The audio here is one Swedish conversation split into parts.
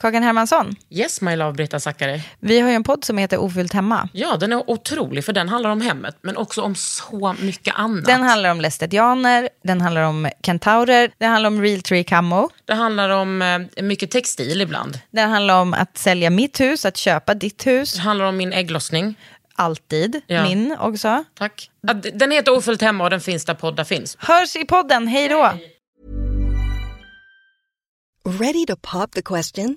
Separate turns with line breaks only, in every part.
Kakan Hermansson,
Yes my love Britta Zackari.
vi har ju en podd som heter Ofyllt hemma.
Ja, den är otrolig för den handlar om hemmet men också om så mycket annat.
Den handlar om lästetianer, den handlar om kentaurer, den handlar om real tree camo,
det handlar om eh, mycket textil ibland.
den handlar om att sälja mitt hus, att köpa ditt hus,
Det handlar om min ägglossning.
alltid,
Ja.
min också.
Tack. Ja, d- Den heter Ofullt hemma och den finns där poddar finns.
Hörs i podden, hej då!
Ready to pop the question?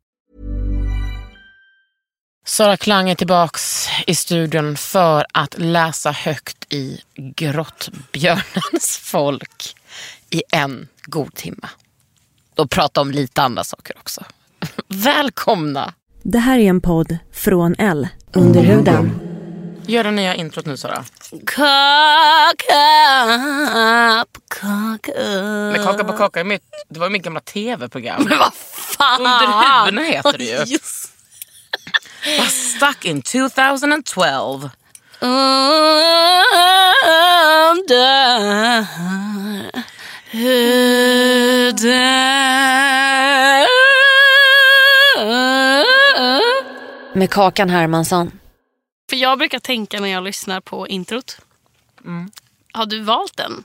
Sara Klang är tillbaks i studion för att läsa högt i Grottbjörnens folk i en god timme. Och prata om lite andra saker också. Välkomna!
Det här är en podd från L. Under huden.
Gör det nya introt nu Sara.
Kaka på kaka.
Men Kaka på kaka, är mitt, det var ju mitt gamla tv-program.
Men vad fan.
Under
Ah.
huden heter det ju.
Just.
Stuck in 2012.
Under huden.
Med Kakan Hermansson.
För jag brukar tänka när jag lyssnar på introt. Mm. Har du valt den?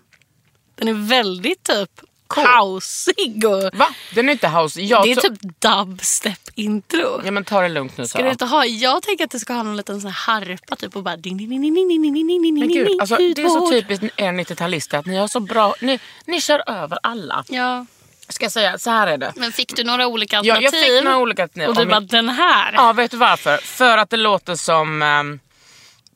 Den är väldigt typ kaosig och...
Va? Den är inte house. Jag
Det är
to-
typ dubstep-intro.
Ja men ta det lugnt nu
Ska du
Sara.
inte ha, jag tänker att du ska ha någon liten sån här harpa typ och bara... ding, ding, ding, ding, ding, ding, ding, ding, ding,
Men gud,
ding,
alltså, det är så
hudvård.
typiskt er 90-talister att ni har så bra, ni, ni kör över alla.
Ja,
Ska jag säga, så här är det.
men fick du några olika
Ja,
alternativ?
jag fick några olika alternativ.
Och du
Om
bara,
min-
den här?
Ja, vet du varför? För att det låter som... ehm,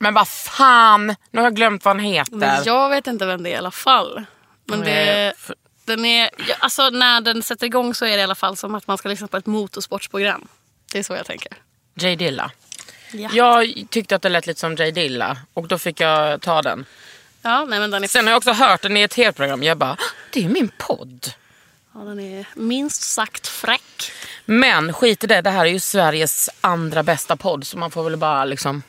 men vad fan, nu har jag glömt vad han heter.
Men jag vet inte vem det är i alla fall. Men det,
Nej, för-
den är, ja, alltså när den sätter igång så är det i alla fall som att man ska lyssna på ett motorsportsprogram. Det är så jag tänker.
Jay Dilla.
Ja. ja.
Jag tyckte att det lät lite som Jay Dilla och då fick jag ta den.
nej, men den, är,
Sen har jag också hört den i ett tv-program. Jag bara, "Ah, det är min podd.
ja, den är minst sagt fräck.
Men skit i det, det här är ju Sveriges andra bästa podd så man får väl bara liksom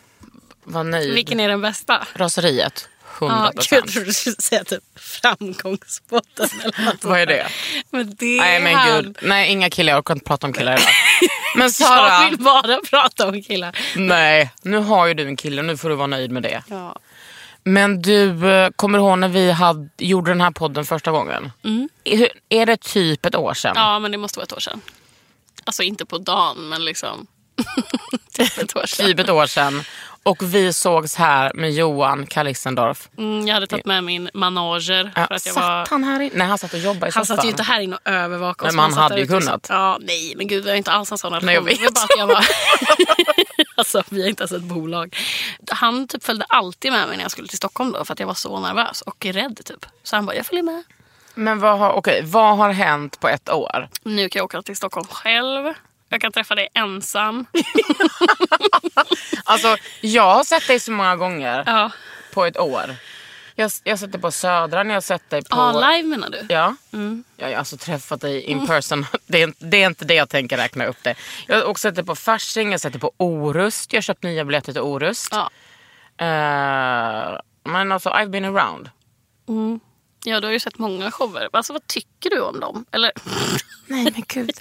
vara nöjd.
Vilken är den bästa?
Raseriet, 100%.
Ja, gud, jag trodde du skulle säga typ framgångspodden eller något.
Vad är det?
Men det är
Nej men
han.
gud, nej inga killar, jag orkar inte prata om killar idag. Men
Jag
Sara,
vill bara prata om killar.
nej nu har ju du en kille, nu får du vara nöjd med det.
Ja.
Men du, eh, kommer du ihåg när vi hade, gjorde den här podden första gången? Är, hur- är det typ ett år sedan?
Mm. ja, men det måste vara ett år sedan. Alltså inte på dagen, men liksom. typ ett år sedan.
Typ ett år sedan. Och vi sågs här med Johan Kalixendorf.
Mm, jag hade tagit med min manager.
Ja,
för att jag
satt
var...
han här inne? Nej han satt och jobbade i
Han
soffan.
satt ju inte här inne och övervakade
Men
oss.
man
Han satt
hade
där
ju
ute och-
kunnat.
Ja, nej, men gud, vi har inte alls en sån relation.
Nej, jag
Det var
vet.
bara att jag var... alltså, vi har inte ens ett bolag. Han typ följde alltid med mig när jag skulle till Stockholm då för att jag var så nervös och rädd. typ. Så han bara, jag följer med.
Men vad har, okej, vad har hänt på ett år?
Nu kan jag åka till Stockholm själv. Jag kan träffa dig ensam.
Alltså jag har sett dig så många gånger
Ja.
på ett år. Jag, jag har sett dig på Södra, jag har sett dig på...
Ja, Ah, live Mm. menar du?
Ja. Jag har alltså träffat dig in person. Det är, inte- det är inte det jag tänker räkna upp det. Jag har också sett dig på Fasching, jag har sett dig på Orust. Jag har köpt nya biljetter till Orust.
Ja.
Eh, men alltså, I've been around.
Mm. Ja, du har ju sett många shower. Alltså vad tycker du om dem? Eller?
Nej men gud.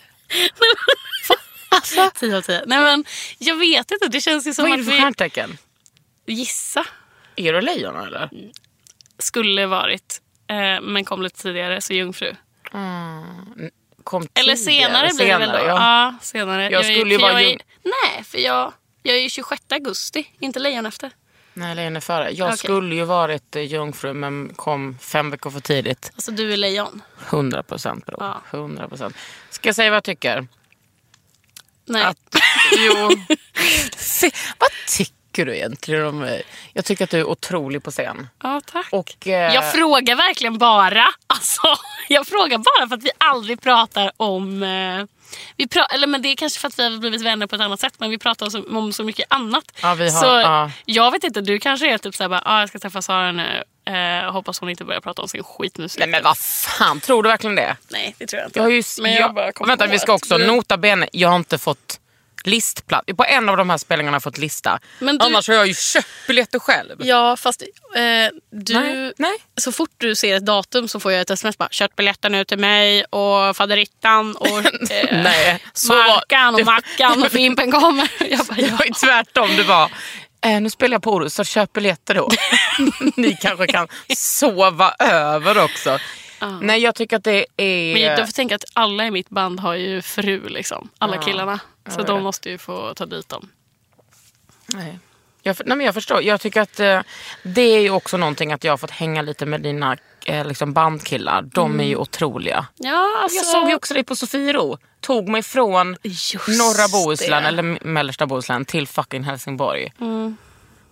Alltså. 10 av 10. Nej men jag vet inte, det känns ju som
Vad är
att
det för
vi...
stjärntecken?
Gissa
Är du lejon eller?
skulle varit, eh, men kom lite tidigare, så jungfru.
Eh, Kom
Eller
tidigare,
senare blir det väl då?
senare,
Ja,
Ja.
senare.
Jag
är-
skulle ju
för
vara
jag är-
jung-
Nej, för jag, jag är ju 26 augusti, inte lejon efter.
Nej, lejon är före. Jag
Okej.
skulle ju varit eh, jungfru men kom fem veckor för tidigt.
Alltså du är lejon.
100 procent bror.
Ja.
100 procent. Ska jag säga vad jag tycker?
Nej.
Att, jo. Se, vad tycker tycker du egentligen om mig? Jag tycker att du är otrolig på scen.
Ja, tack.
Och, eh,
Jag frågar verkligen bara. Alltså, jag frågar bara för att vi aldrig pratar om... Eh, vi pra- eller men det är kanske för att vi har blivit vänner på ett annat sätt men vi pratar så, om så mycket annat.
Ja, vi har-
så
ja.
jag vet inte, du kanske är typ såhär bara, ah, jag ska träffa Sara nu. Eh, hoppas hon inte börjar prata om sin skitmusik.
Nej men vad fan, tror du verkligen det?
Nej, det tror jag inte.
Jag har ju,
men jag, bara kom
vänta,
på
vi ska
att
också,
du-
nota bene, jag har inte fått listplats. På en av de här spelningarna har jag fått lista.
Men du-
Annars har jag ju köpt biljetter själv.
Ja, fast eh, du...
Nej, nej.
Så fort du ser ett datum så får jag ett sms bara “köp biljetten nu till mig och faderittan och eh,
Nej, så var-
Markan och Mackan och Fimpen kommer”. Jag bara,
Det var ju
ja.
tvärtom. Det var, eh, nu spelar jag på Orust så köp biljetter då. Ni kanske kan sova över också. Nej jag tycker att det är...
Men du får tänka att alla i mitt band har ju fru, liksom. alla killarna. Så
jag
de
vet.
måste ju få ta dit dem.
Nej. Jag, för- nej men jag förstår. Jag tycker att eh, det är ju också någonting att jag har fått hänga lite med dina eh, liksom bandkillar. De är ju otroliga.
Ja, alltså,
Mm. Jag såg ju också dig på Sofiero. Tog mig från
Just
norra Bohuslän
det.
eller m- mellersta Bohuslän till fucking Helsingborg.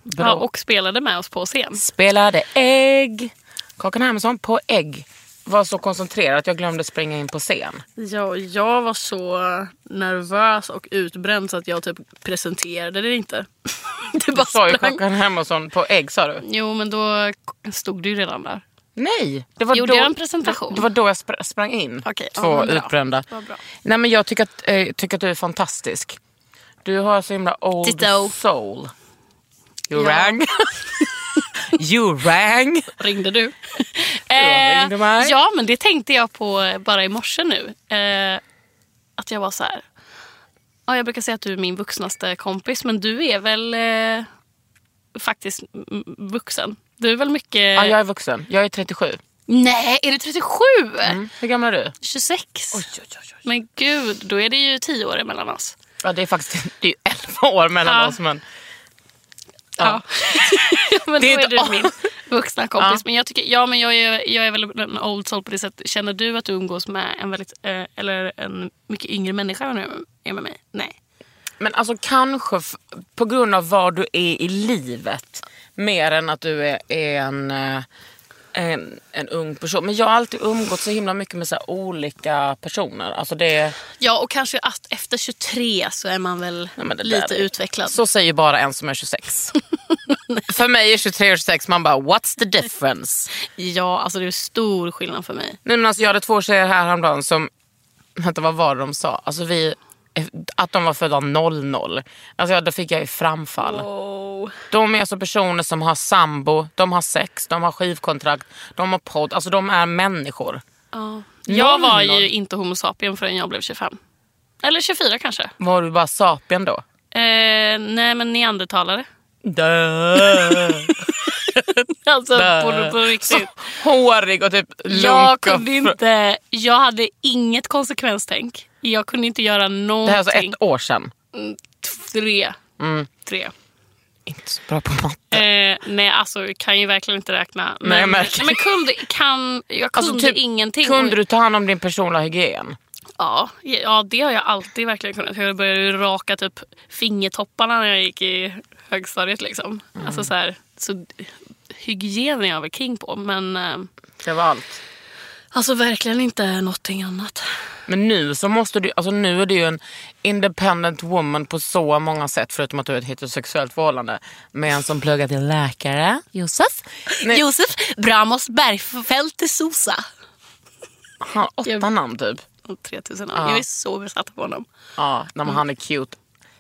Bra.
ja, och spelade med oss på scen.
Spelade ägg. Kakan Hermansson på ägg. Var så koncentrerad att jag glömde springa in på scen.
Ja, jag var så nervös och utbränd så att jag typ presenterade det inte. det bara
Du sa ju
sprang.
Kakan Hermansson på ägg sa du?
Jo, men då stod du ju redan där.
Nej! Det var
Gjorde
då,
jag en presentation?
Det, det var då jag spr- sprang in.
Okej, ja,
Två
vad bra.
utbrända.
Vad bra.
Nej men jag tycker att, eh, tycker att du är fantastisk. Du har så himla old
Ditto.
soul. You
Ja.
rang. you rang.
Ringde du? Eh,
Jag ringde mig.
ja, men det tänkte jag på eh, bara i morse nu. Eh, att jag var så här. Ja, jag brukar säga att du är min vuxnaste kompis, men du är väl eh, faktiskt mm, vuxen. Du är väl mycket...
Ja, jag är vuxen. Jag är 37.
Nej, är du 37?
Mm. Hur gammal är du?
26? Men gud, då är det ju 10 år emellan oss.
Ja, det är faktiskt det är ju 11 år mellan
Ja.
oss. Men,
Ja. men
Det är
då är
inte-
du min vuxna kompis.
Ja.
Men jag, tycker, ja, men jag, är, jag är väl en old soul på det sättet. Känner du att du umgås med en, väldigt, eh, eller en mycket yngre människa än du är med mig? Nej.
men alltså kanske f- på grund av var du är i livet. Mer än att du är, är en, eh, en, en ung person. Men jag har alltid umgått så himla mycket med så här olika personer. Alltså det är...
Ja, och kanske att efter 23 så är man väl
Nej, men det
lite
där-
utvecklad.
Så säger bara en som är 26. för mig är 23 och 26, man bara what's the difference?
Ja, alltså det är stor skillnad för mig.
Nej, men alltså, jag hade två tjejer här häromdagen som, vänta vad var det de sa? Alltså vi, att de var födda 00. Alltså ja, då fick jag ju framfall.
Oh.
De är alltså personer som har sambo, de har sex, de har skivkontrakt, de har podd. Alltså de är människor.
Jag var
Noll.
ju inte homo sapien förrän jag blev 25. Eller 24 kanske.
Var du bara sapien då?
Eh, nej, men neandertalare.
Dö.
Alltså på, på riktigt.
Hårig och typ lunk.
Jag
och
kunde
fr-
inte, jag hade inget konsekvenstänk. Jag kunde inte göra
Det här är alltså
någonting.
ett Mm. år sedan.
Tre. Tre.
Inte så bra på matte.
Eh, nej, alltså jag kan ju verkligen inte räkna. Men,
jag märker.
men kunde, kan, jag kunde
Alltså, typ,
ingenting.
Kunde du ta hand om din personliga hygien?
Ja, ja, det har jag alltid verkligen kunnat. Jag började ju raka typ fingertopparna när jag gick i högstadiet. Liksom.
Mm.
Alltså, så här, så, hygien är jag väl king på, men eh,
Det var allt.
alltså verkligen inte någonting annat.
Men nu så måste du, alltså nu är du ju en independent woman på så många sätt förutom att du är ett heterosexuellt förhållande. Med en som pluggar till läkare.
Josef?
Nej.
Josef Bramos Bergfeldt de Sosa.
Han har åtta
Jag-
namn typ.
3000 namn. Jag är så besatt av honom.
Ja, nej, men han är cute.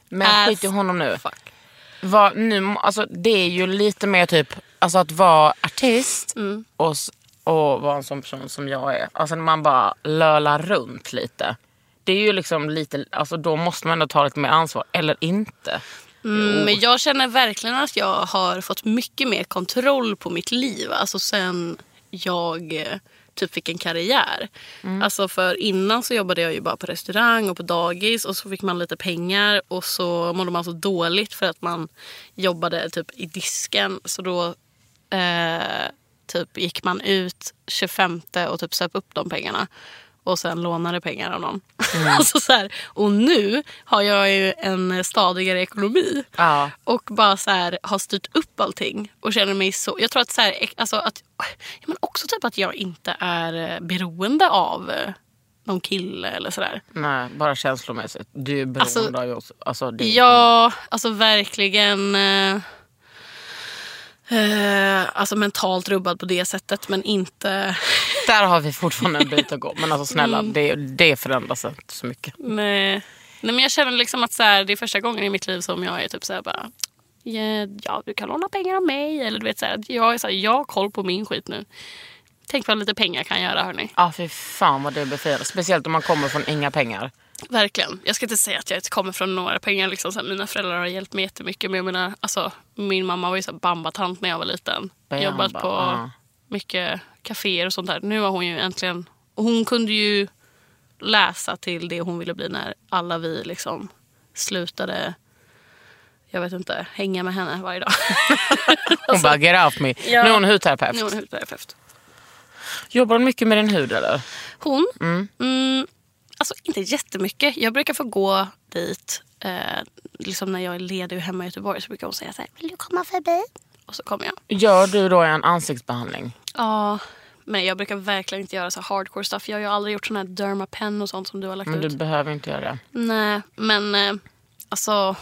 Men
Äh,
skit i honom nu.
Fuck.
Vad nu alltså, det är ju lite mer typ alltså, att vara artist
Mm.
och, s- och vara en sån person som jag är. Alltså när man bara lölar runt lite. Det är ju liksom lite, alltså då måste man ändå ta lite mer ansvar, eller inte.
Mm, men jag känner verkligen att jag har fått mycket mer kontroll på mitt liv. Alltså sen jag eh, typ fick en karriär. Alltså för innan så jobbade jag ju bara på restaurang och på dagis och så fick man lite pengar och så mådde man så dåligt för att man jobbade typ i disken. Så då eh, typ gick man ut 25 och typ söp upp de pengarna. och sen lånade pengar av någon. alltså så här, och nu har jag ju en stadigare ekonomi.
Ja.
Och bara så här, har styrt upp allting. Och känner mig så... Jag tror att så här, alltså att, ja, men också typ att jag inte är eh, beroende av eh, någon kille eller sådär.
Nej, bara känslomässigt. Du är beroende
Alltså,
av oss. Alltså, det,
Ja, alltså verkligen. Eh, eh, alltså mentalt rubbad på det sättet men inte...
Där har vi fortfarande en bit att gå. Men alltså snälla,
Mm.
det, det förändras inte så mycket.
Nej. Nej, men jag känner liksom att så här, det är första gången i mitt liv som jag är typ så här bara... "Ja, Ja, du kan låna pengar av mig. Eller du vet, så här, att jag, är så här, jag har koll på min skit nu. Tänk vad lite pengar kan göra, hörni.
Ja, fy fan vad det befriar. Speciellt om man kommer från inga pengar.
Verkligen. Jag ska inte säga att jag inte kommer från några pengar. Liksom, så här, mina föräldrar har hjälpt mig jättemycket. Men jag menar, alltså, min mamma var ju så här bambatant när jag var liten.
Bamba,
Jobbat på
ja.
mycket kaféer och sånt där. Nu har hon ju äntligen... och Hon kunde ju läsa till det hon ville bli när alla vi liksom slutade jag vet inte, hänga med henne varje dag.
Hon bara, get off me.
Ja.
Alltså, Nu är hon hudterapeut.
nu är hon hudterapeut.
Jobbar hon mycket med din hud eller?
Hon? Mm, alltså inte jättemycket. Jag brukar få gå dit. Eh, liksom när jag är ledig och hemma i Göteborg så brukar hon säga så här, vill du komma förbi? Och så kommer jag.
Gör du då en ansiktsbehandling?
Ja, men jag brukar verkligen inte göra så här hardcore stuff. Jag har ju aldrig gjort sån här dermapen och sånt som du har lagt
Men
ut.
du behöver inte göra det.
Nej, men eh, alltså.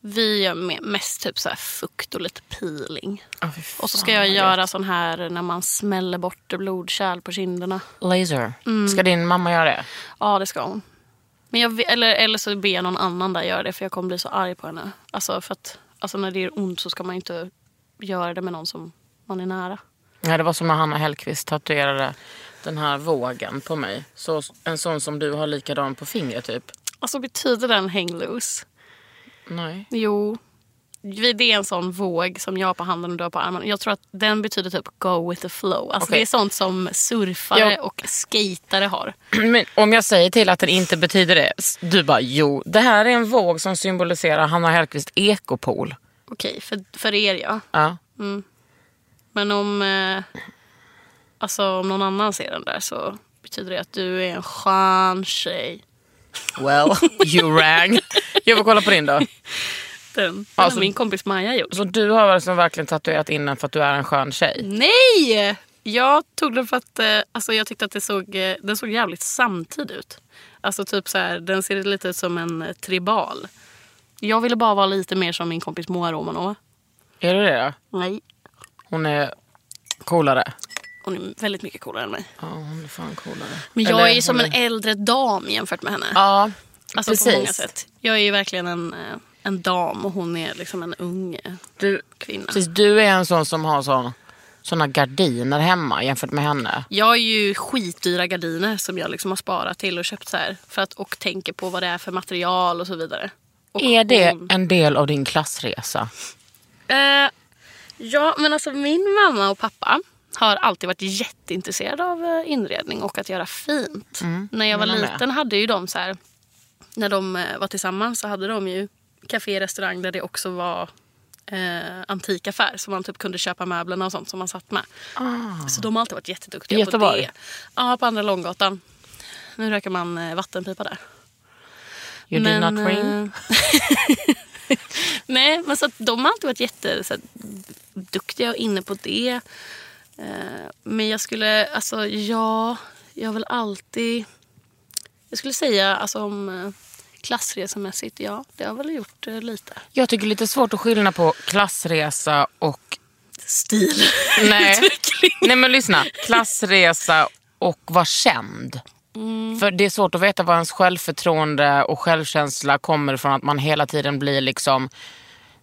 Vi gör me- mest typ så här fukt och lite peeling.
Ja, fy fan,
Och så ska jag
vad
göra sån här när man smäller bort blodkärl på kinderna.
Laser.
Mm.
Ska din mamma göra det?
Ja, det ska hon. Men jag, vet- eller, eller så ber jag någon annan där göra det för jag kommer bli så arg på henne. Alltså, för att, alltså när det gör ont så ska man inte göra det med någon som man är nära.
Ja, det var som när Hanna Hellquist tatuerade den här vågen på mig. Så, en sån som du har likadan på fingret typ.
Alltså betyder den hang loose?
Nej.
Jo. Vi- Det är en sån våg som jag har på handen och du har på armen. Jag tror att den betyder typ go with the flow. Alltså
Okej.
Det är sånt som surfare
Ja.
och skatare har.
Men om jag säger till att den inte betyder det. s- Du bara jo, det här är en våg som symboliserar Hanna Hellquist ekopol.
Okej, för, för er ja.
Ja.
Men om, eh, alltså, om någon annan ser den där så betyder det att du är en skön tjej.
Well, you rang. Jag får kolla på din då.
Den, den
Alltså-
har min kompis Maja gjort.
Så du har alltså verkligen tatuerat in den för att du är en skön tjej?
Nej! Jag tog den för att eh, alltså, jag tyckte att det såg, eh, den såg jävligt samtid ut. Alltså typ så här, den ser lite ut som en eh, tribal. Jag ville bara vara lite mer som min kompis Moa Romanova.
Är du det då?
Nej.
Hon är coolare.
Hon är väldigt mycket coolare än mig.
Ja, hon är fan coolare.
Men jag
Eller
är ju som
hon
en äldre dam jämfört med henne.
Ja,
alltså
precis.
på många sätt. Jag är ju verkligen en, eh, en dam och hon är liksom en ung eh,
Du,
kvinna.
precis, du är en sån som har sån, såna gardiner hemma jämfört med henne.
Jag är ju skitdyra gardiner som jag liksom har sparat till och köpt så här. För att, och tänker på vad det är för material och så vidare. Och
Är det
hon-
en del av din klassresa?
Eh, ja, men alltså min mamma och pappa har alltid varit jätteintresserade av eh, inredning och att göra fint. När jag var
Mm, mina med.
liten hade ju de så här, när de eh, var tillsammans så hade de ju café, restaurang där det också var eh, antikaffär så man typ kunde köpa möblerna och sånt som man satt med. Så de har alltid varit jätteduktiga
I
på
Göteborg?
det. Ja, på Andra Långgatan. Nu röker man eh, vattenpipa där.
You did
Men,
not ring?
eh, Nej, men så att de har alltid varit jätte, så här, duktiga och inne på det. Eh, men jag skulle, alltså ja, jag vill alltid... Jag skulle säga alltså om eh, klassresemässigt, ja, det har jag väl gjort eh, lite.
Jag tycker det är lite svårt att skilja på klassresa och...
Stil.
Nej.
Utveckling.
Nej men lyssna. Klassresa och vara känd.
Mm.
För det är svårt att veta var ens självförtroende och självkänsla kommer från att man hela tiden blir liksom...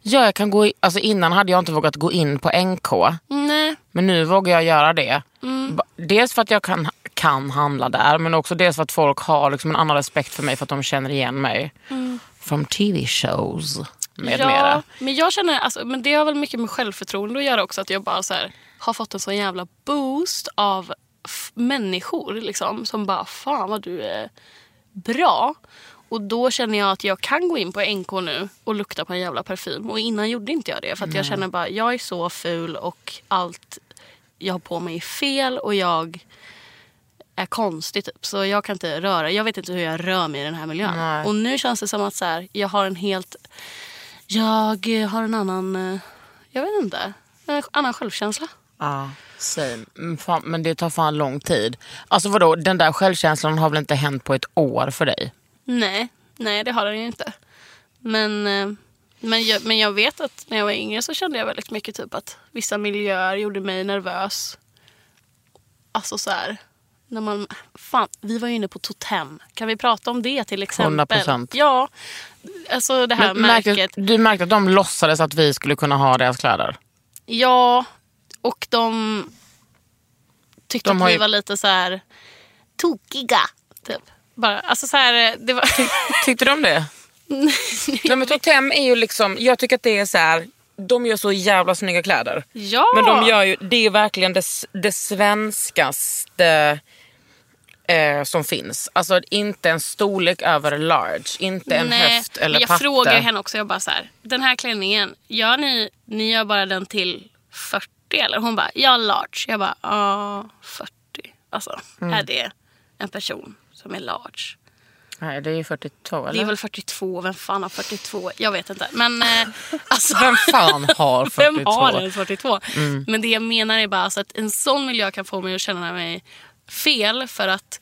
Ja, jag kan gå i, alltså innan hade jag inte vågat gå in på NK.
Nej,
Men nu vågar jag göra det.
Mm.
Ba- Dels för att jag kan, kan handla där men också dels för att folk har liksom en annan respekt för mig för att de känner igen mig. Från TV-shows med
Mm. ja,
mera.
Men jag känner, alltså, men det har väl mycket med självförtroende att göra också. Att jag bara så här, har fått en sån jävla boost av f- människor liksom, som bara fan vad du är bra. Och då känner jag att jag kan gå in på NK nu och lukta på en jävla parfym. Och innan gjorde inte jag det. För att jag känner bara, jag är så ful och allt jag har på mig är fel och jag är konstig typ. Så jag kan inte röra, jag vet inte hur jag rör mig i den här miljön.
Nej.
Och nu känns det som att så här, jag har en helt, jag eh, har en annan, eh, jag vet inte, en annan självkänsla.
Ja, same. Mm, Fan, men det tar fan lång tid. Alltså vadå, den där självkänslan har väl inte hänt på ett år för dig?
Nej, nej det har den ju inte. Men, eh, men, jag, men jag vet att när jag var yngre så kände jag väldigt mycket typ att vissa miljöer gjorde mig nervös. Alltså så här, när man, fan, vi var ju inne på Totem. Kan vi prata om det till exempel?
100%.
Ja, alltså det här
Men
märket.
märkte, du märkte att de låtsades att vi skulle kunna ha deras kläder?
Ja, och de tyckte
De har
att vi
ju-
var lite så här tokiga. Typ. Bara, alltså så här, eh, det var...
Tyckte de det? Nej, men Totem är ju liksom, jag tycker att det är så här. de gör så jävla snygga kläder.
ja!
Men de gör ju, det är ju verkligen det, s- det svenskaste eh, som finns. Alltså inte en storlek över large, inte en höft eller
jag
patte.
frågar henne också, jag bara så här, den här klänningen, gör ni, ni gör bara den till 40 eller? Hon bara, ja large. Jag bara, ja 40. Alltså,
Mm.
är det en person som är large?
Nej, det är ju 42 eller?
Det är väl 42, vem fan har 42? Jag vet inte. Men eh, alltså,
Vem fan har Mm. 42?
Vem har ens 42? Men det jag menar är bara alltså att en sån miljö kan få mig att känna mig fel för att,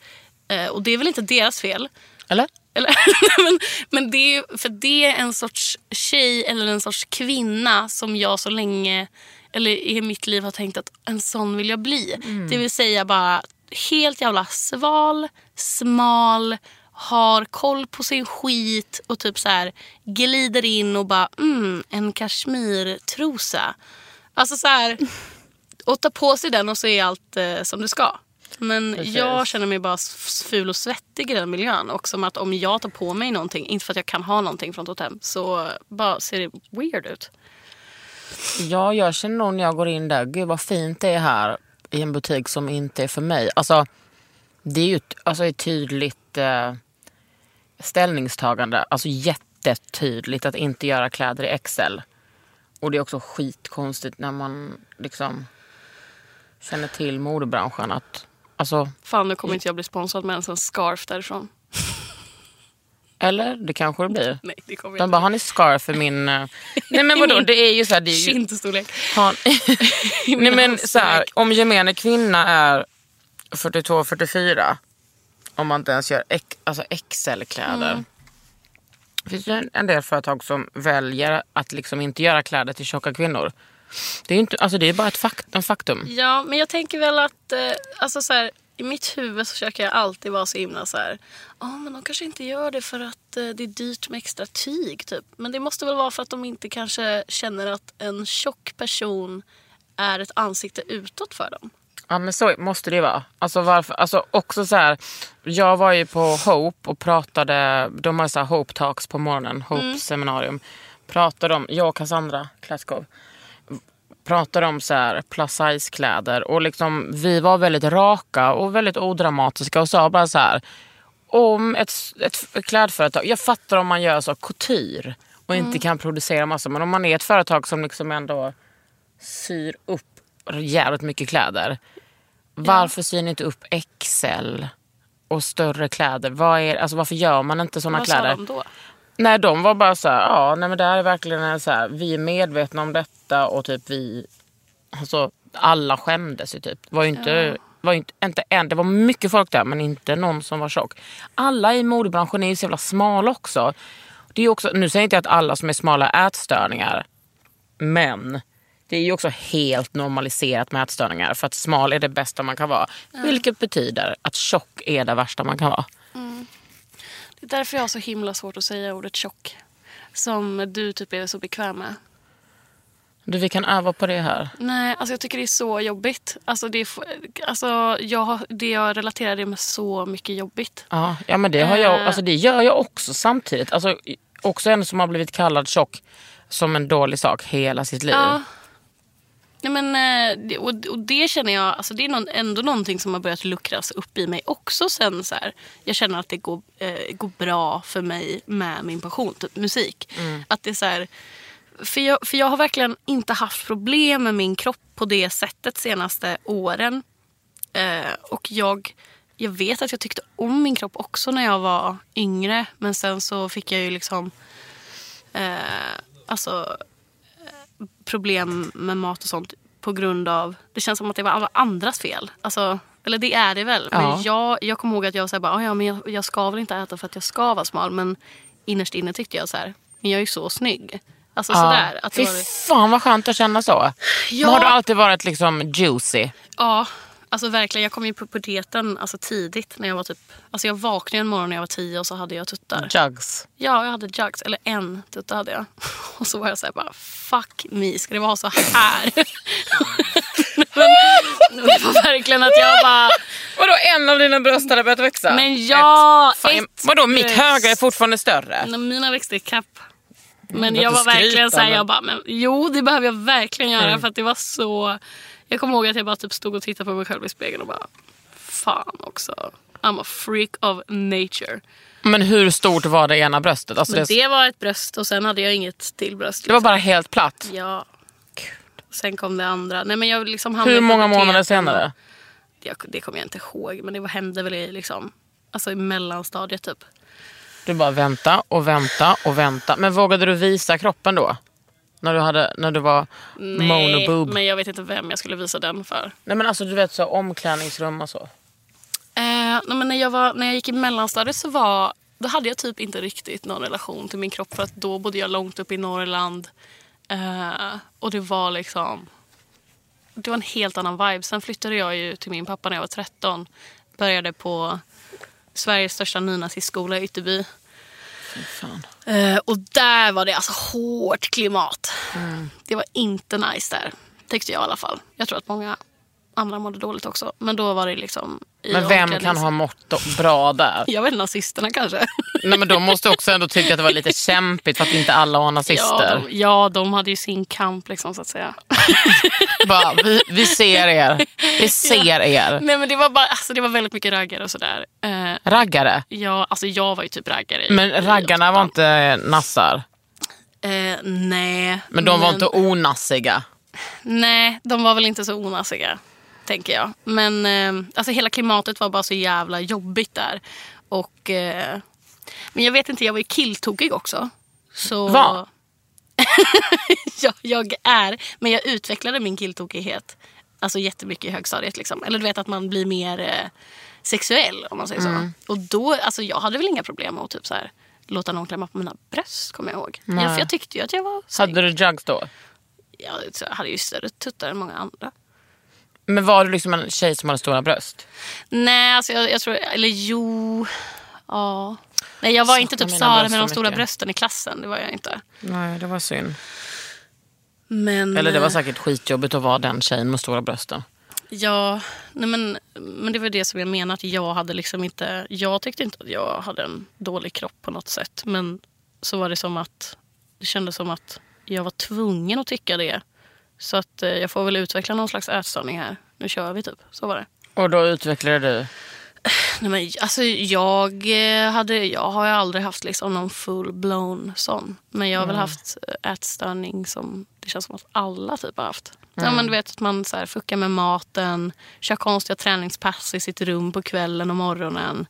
eh, och det är väl inte deras fel,
Eller?
eller, men men det, är ju- för det är en sorts tjej eller en sorts kvinna som jag så länge eller i mitt liv har tänkt att en sån vill jag bli. Det vill säga bara helt jävla sval, smal, har koll på sin skit och typ så här glider in och bara mm, en kashmirtrosa. Alltså så här och ta på sig den och så är allt eh, som det ska. Men
Precis.
jag känner mig bara s- ful och svettig i den miljön. Och som att om jag tar på mig någonting, inte för att jag kan ha någonting från Totem, så bara ser det weird ut.
Ja, jag känner nog när jag går in där, gud vad fint det är här i en butik som inte är för mig. Alltså, det är ju ett, alltså, ett tydligt eh, ställningstagande. Alltså jättetydligt att inte göra kläder i XL. Och det är också skitkonstigt när man liksom känner till modebranschen att, alltså,
Fan, nu kommer inte jag bli sponsrad med ens en scarf därifrån.
eller det kanske det blir.
Nej, det kommer jag
De
inte.
bara, har ni scarf för min... eh?" Nej men vadå, det är ju så här, det är ju
Kindstorlek.
Han, nej men
halsduk.
så här, om gemene kvinna är 42-44, om man inte ens gör ex, alltså XL-kläder. finns ju en- en del företag som väljer att liksom inte göra kläder till tjocka kvinnor. Det är ju inte, alltså det är bara ett fakt, en faktum.
Ja, men jag tänker väl att eh, alltså så här, i mitt huvud så försöker jag alltid vara så himla så här. Ja, men de kanske inte gör det för att eh, det är dyrt med extra tyg typ. Men det måste väl vara för att de inte kanske känner att en tjock person är ett ansikte utåt för dem.
Ja men så måste det ju vara. Alltså varför, alltså också så här, jag var ju på Hope och pratade, de har ju så här Hope Talks på morgonen, Hope seminarium. Pratade om, jag och Cassandra Klatskov. pratade om så här plus size kläder och liksom, vi var väldigt raka och väldigt odramatiska och sa bara så här om ett, ett klädföretag, jag fattar om man gör så couture och
Mm.
inte kan producera massor men om man är ett företag som liksom ändå syr upp jävligt mycket kläder. Varför syr ni inte upp XL och större kläder? Vad är, alltså varför gör man inte såna
Vad
kläder?
sa de då?
Nej, de var bara så här, ja, nej men det här är verkligen en så här, vi är medvetna om detta och typ vi, alltså alla skämdes ju typ. Det Var ju inte, var ju inte, inte en, det var mycket folk där men inte någon som var tjock. Alla i modebranschen är ju så jävla smala också. Det är ju också, nu säger jag inte att alla som är smala är ätstörningar, men det är ju också helt normaliserat med ätstörningar för att smal är det bästa man kan vara. Vilket betyder att tjock är det värsta man kan vara.
Det är därför jag har så himla svårt att säga ordet tjock. Som du typ är så bekväm med.
Du, vi kan öva på det här.
Nej, alltså jag tycker det är så jobbigt. Alltså det, är, f- alltså jag, har- det jag relaterar det med så mycket jobbigt.
Ja, ja men det, har jag,
Eh.
alltså det gör jag också samtidigt. Alltså, i- också en som har blivit kallad tjock som en dålig sak hela sitt liv.
Ja. Nej, men, eh, det- och, och det känner jag, alltså det är någon, ändå någonting som har börjat luckras upp i mig också sen. Så här. Jag känner att det går, eh, går bra för mig med min passion, typ musik. Att det är så här, för, jag, för jag har verkligen inte haft problem med min kropp på det sättet senaste åren. Eh, och jag jag vet att jag tyckte om min kropp också när jag var yngre. Men sen så fick jag ju liksom eh, alltså, eh, problem med mat och sånt på grund av... Det känns som att det var alla andras fel. Alltså, eller det är det väl.
Ja.
Men jag, jag kommer ihåg att jag sa bara, "Ah, ja, men jag, jag ska väl inte äta för att jag ska vara smal. Men innerst inne tyckte jag så här, men jag är ju så snygg. Alltså sådär. Att det
Fy
var,
fan vad skönt att känna så.
Ja.
Har du alltid varit liksom juicy?
Ja, alltså verkligen. Jag kom ju på puberteten alltså tidigt. när Jag var typ... Alltså jag vaknade en morgon när jag var tio och så hade jag
Mm.
tuttar.
Jugs.
Ja, jag hade jugs. Eller en tutta hade jag. Och så var jag så här bara, fuck me, ska det vara så här? men, det var verkligen att jag bara,
Vadå en av dina bröst hade börjat växa?
men ja!
Fan,
ett
vadå mitt
bröst. Mm.
högra är fortfarande större?
Nej, Mina växte ikapp. Men
behöver
jag var
inte skryta,
verkligen så här,
men- Mm.
jag bara, men jo det behöver jag verkligen göra för att det var så... Jag kommer ihåg att jag bara typ stod och tittade på mig själv i spegeln och bara, fan också. I'm a freak of nature.
Men hur stort var det ena bröstet? Alltså
Men
det,
det var ett bröst och sen hade jag inget till bröst. liksom.
det var bara helt platt.
Ja. Sen kom det andra. Nej, men jag liksom hamnade
Hur
i
många
puberteten
månader
och-
senare?
Jag, det kommer jag inte ihåg men det var, hände väl i, liksom, alltså i mellanstadiet typ.
Du bara vänta och vänta och vänta. Men vågade du visa kroppen då? När du, hade, när du var
Nej,
monoboob?
men jag vet inte vem jag skulle visa den för.
Nej men alltså du vet så omklädningsrum och så.
Eh, nej, men när, jag var, när jag gick i mellanstadiet så var, då hade jag typ inte riktigt någon relation till min kropp för att då bodde jag långt upp i Norrland. Eh, och det var liksom... Det var en helt annan vibe. Sen flyttade jag ju till min pappa när jag var 13. Började på Sveriges största nynazistskola i Ytterby.
Fan.
Eh, och där var det alltså hårt klimat.
Mm.
Det var inte nice där, tyckte jag i alla fall. Jag tror att många andra mådde dåligt också. Men då var det liksom... i
Men vem kan
omklädnings-
ha mått då- bra där?
Jag vet inte, nazisterna kanske?
Nej men de måste också ändå tycka att det var lite kämpigt för att inte alla var
Ja
nazister.
de, ja, de hade ju sin kamp liksom så att säga.
Bara, vi, vi ser er. Vi ser er.
Nej men det var, bara, alltså, det var väldigt mycket raggare och sådär. Eh,
Raggare.
ja, alltså jag var ju typ raggare. i- i
Men raggarna var
åttan.
inte nassar.
Eh, nej.
Men de var inte onassiga.
Nej, de var väl inte så onassiga, tänker jag. Men eh, alltså, hela klimatet var bara så jävla jobbigt där. Och, eh, men jag vet inte, jag var ju killtokig också. Så...
Va?
jag, jag är, men jag utvecklade min killtokighet alltså, jättemycket i högstadiet. Liksom. Eller du vet att man blir mer eh, sexuell om man säger
Mm.
så. Och då, alltså, jag hade väl inga problem med att typ, så här, låta någon klämma på mina bröst kommer jag ihåg.
Nej.
Jag, för jag tyckte ju att jag var...
Hade du jugs då?
Jag hade ju större tuttar än många andra.
Men var du liksom en tjej som hade stora bröst?
Nej, alltså jag, jag tror... Eller jo... Ja. Nej, jag var
Saknar
inte typ
mina
Sara
bröst
med
så
de stora
mycket.
brösten i klassen. Det var jag inte.
Nej, det var synd.
Men...
Eller det var
eh,
säkert skitjobbigt att vara den tjejen med stora brösten.
Ja, nej men, men det var det som jag menade. Att jag, hade liksom inte, jag tyckte inte att jag hade en dålig kropp på något sätt. Men så var det som att det kändes som att jag var tvungen att tycka det. Så att eh, jag får väl utveckla någon slags ätstörning här. Nu kör vi typ. Så var det.
Och då utvecklade
Typ
du?
Nej, men, alltså, jag, eh, hade, jag har ju aldrig haft liksom, någon full-blown sån. Men jag har
Mm.
väl haft eh, ätstörning som det känns som att alla typ har haft.
Mm.
Ja, men du vet att man så här, fuckar med maten, kör konstiga träningspass i sitt rum på kvällen och morgonen.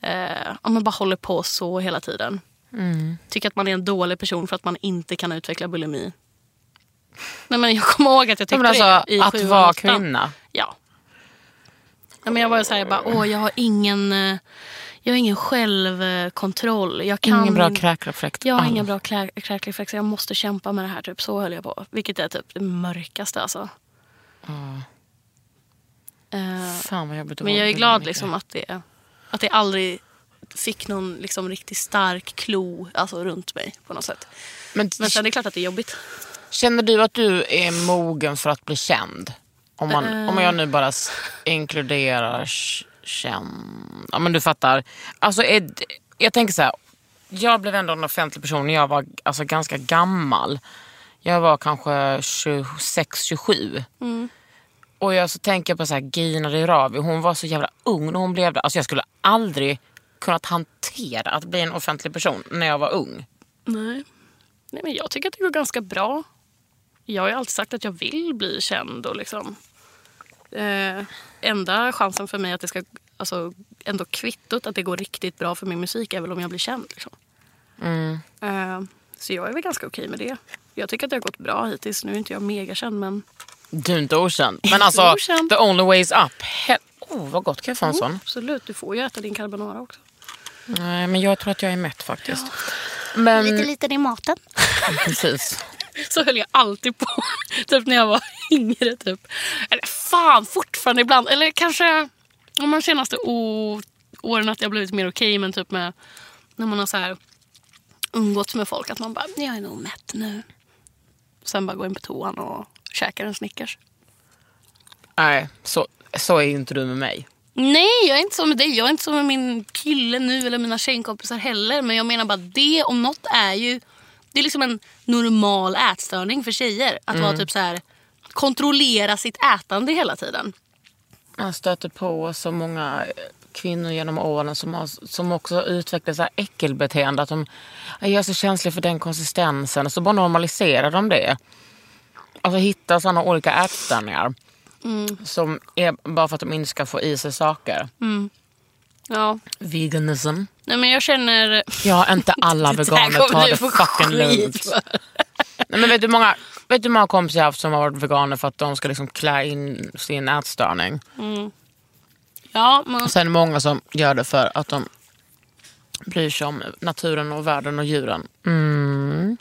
Eh, ja, man bara håller på så hela tiden.
Mm.
Tycker att man är en dålig person för att man inte kan utveckla bulimi. Nej, men jag kommer ihåg att jag tyckte
Men alltså,
det i
att
sjuan,
vara
åttan.
kvinna.
Ja. ja men jag var ju såhär, jag bara, åh jag har ingen, eh, jag har ingen självkontroll. Jag kan
Ingen bra
inte-
kräkreflekt.
jag har
alls.
ingen bra klä- kräkreflex, jag måste kämpa med det här. Typ. Så höll jag på. Vilket är typ det mörkaste alltså. Eh,
Fan vad jobbigt att
men
vara
jag är
en
glad
bulimiker.
liksom att det, att det aldrig fick någon liksom, riktigt stark klo alltså, runt mig på något sätt.
Men,
Men sen är det klart att det är jobbigt.
Känner du att du är mogen för att bli känd? Om, man, om jag nu bara s- inkluderar k- känd... Ja men du fattar. Alltså, är, d- jag tänker så här. Jag blev ändå en offentlig person när jag var alltså, ganska gammal. Jag var kanske 26-27. Och jag så tänker jag på så här, Gina Dirawi, hon var så jävla ung när hon blev det. Alltså jag skulle aldrig kunnat hantera att bli en offentlig person när jag var ung.
Nej. Nej, men jag tycker att det går ganska bra. Jag har ju alltid sagt att jag vill bli känd. Och liksom, eh, enda chansen för mig att det ska alltså, ändå kvittot att det går riktigt bra för min musik är väl om jag blir känd. Liksom. Eh, så jag är väl ganska okej med det. Jag tycker att det har gått bra hittills. Nu är inte jag megakänd men
Du är inte okänd. Men alltså,
Inte okänd.
the only way is up. Hel- oh, vad gott. Kan jag få en sån?
absolut, du får ju äta din carbonara också.
Nej, men jag tror att jag är mätt faktiskt. Men,
liten i maten.
precis.
Så höll jag alltid på. typ när jag var yngre. Typ. Eller fan, fortfarande ibland. Eller kanske om de senaste o- åren att jag blivit mer okej. men typ med när man har så här umgåtts med folk. Att man bara, jag är nog mätt nu. Sen bara gå in på toan och käkar en Snickers.
Nej, så, så är ju inte du med mig.
Nej, jag är inte så med dig. Jag är inte så med min kille nu eller mina tjejkompisar heller. Men jag menar bara det om något är ju... Det är liksom en normal ätstörning för tjejer. Att vara typ så här kontrollera sitt ätande hela tiden.
Man stöter på så många eh, kvinnor genom åren som, har, som också utvecklar så här äckelbeteende. Att de "Jag är så känslig för den konsistensen. Och så bara normaliserar de det. Alltså hittar sådana olika ätstörningar. Som är bara för att de inte ska få i sig saker.
Ja,
Veganism.
nej men jag känner...
Ja, inte alla veganer tar det fucking lugnt. Nej, men vet du hur många, vet du hur många kompisar jag har haft som har varit veganer för att de ska liksom klä in sin ätstörning?
Ja, men
Och sen många som gör det för att de bryr sig om naturen och världen och djuren. Mm.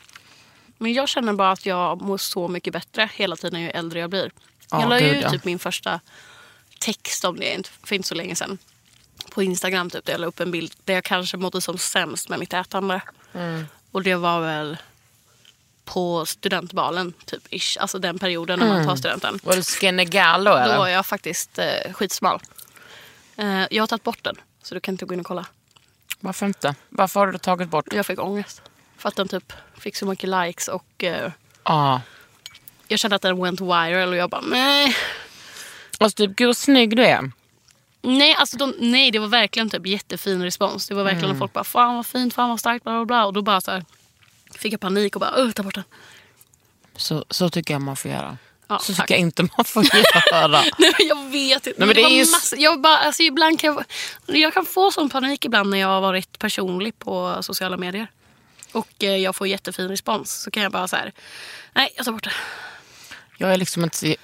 Men jag känner bara att jag mår så mycket bättre hela tiden ju äldre jag blir.
Ja,
jag la ju
gud,
ut
ja.
typ min första text om det inte- för inte så länge sedan. På Instagram typ, där jag la upp en bild där jag kanske mådde som sämst med mitt ätande.
Mm.
Och det var väl på studentbalen, typ ish. Alltså den perioden när
Mm.
man tar studenten.
Var du skinny gal då
Då var
eller?
jag faktiskt eh, skitsmal. Eh, jag har tagit bort den, så du kan inte gå in och kolla.
Varför inte? Varför har du tagit bort? Ja.
Jag fick ångest. För att den typ fick så mycket likes och eh, jag kände att den went viral och jag bara nej.
Och typ, gud vad snygg du är.
Nej, alltså de, nej, det var verkligen typ jättefin respons. Det var verkligen att folk bara fan vad fint, fan vad starkt, bla bla bla. Och då bara så här, fick jag panik och bara "Ugh, ta bort den.
Så, så tycker jag man får göra.
Ja,
så
tack.
tycker jag inte man får göra.
Nej, men jag vet inte.
men
Men det
det är
var
ju s-
massa, jag, bara, alltså, ibland kan jag, jag kan få sån panik ibland när jag har varit personlig på sociala medier. Och eh, jag får jättefin respons. Så kan jag bara så här, nej jag tar bort det.
Jag är liksom inte...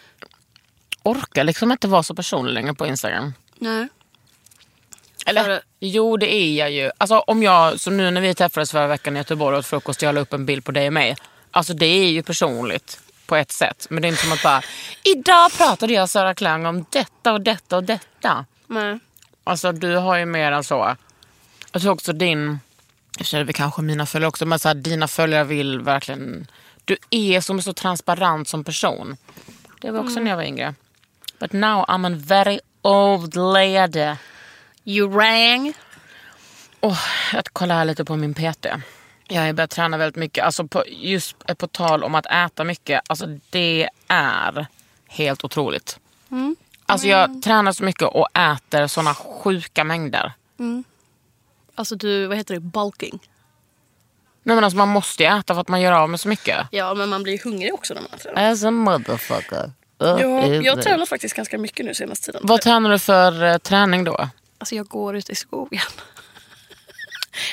Orkar liksom inte vara så personlig längre på Instagram.
Nej.
Eller?
Har du-
Jo, det är jag ju. Alltså, om jag, som nu när vi träffades förra veckan i Göteborg och åt frukost, jag la upp en bild på dig och mig. Alltså det är ju personligt på ett sätt. Men det är inte som att bara, idag pratade jag och Sara Klang om detta och detta och detta.
Nej.
Alltså du har ju mer än så. Jag tror också din, jag känner väl kanske mina följare också, men så här, dina följare vill verkligen, du är som så transparent som person. Det var också när jag var yngre. But now I'm a very old lady.
You rang.
Åh, jag kollar här lite på min PT. Jag har börjat träna väldigt mycket. Alltså på, just på tal om att äta mycket. Alltså det är helt otroligt.
Mm.
Alltså jag tränar så mycket och äter såna sjuka mängder.
Alltså du, vad heter det, bulking?
Nej men alltså man måste ju äta för att man gör av med så mycket.
Ja, men man blir hungrig också när man tränar.
As a motherfucker. Uh,
Ja,
is
jag
it.
tränar faktiskt ganska mycket nu senaste tiden.
Vad tränar du för eh, träning då?
Alltså jag går ut i skogen.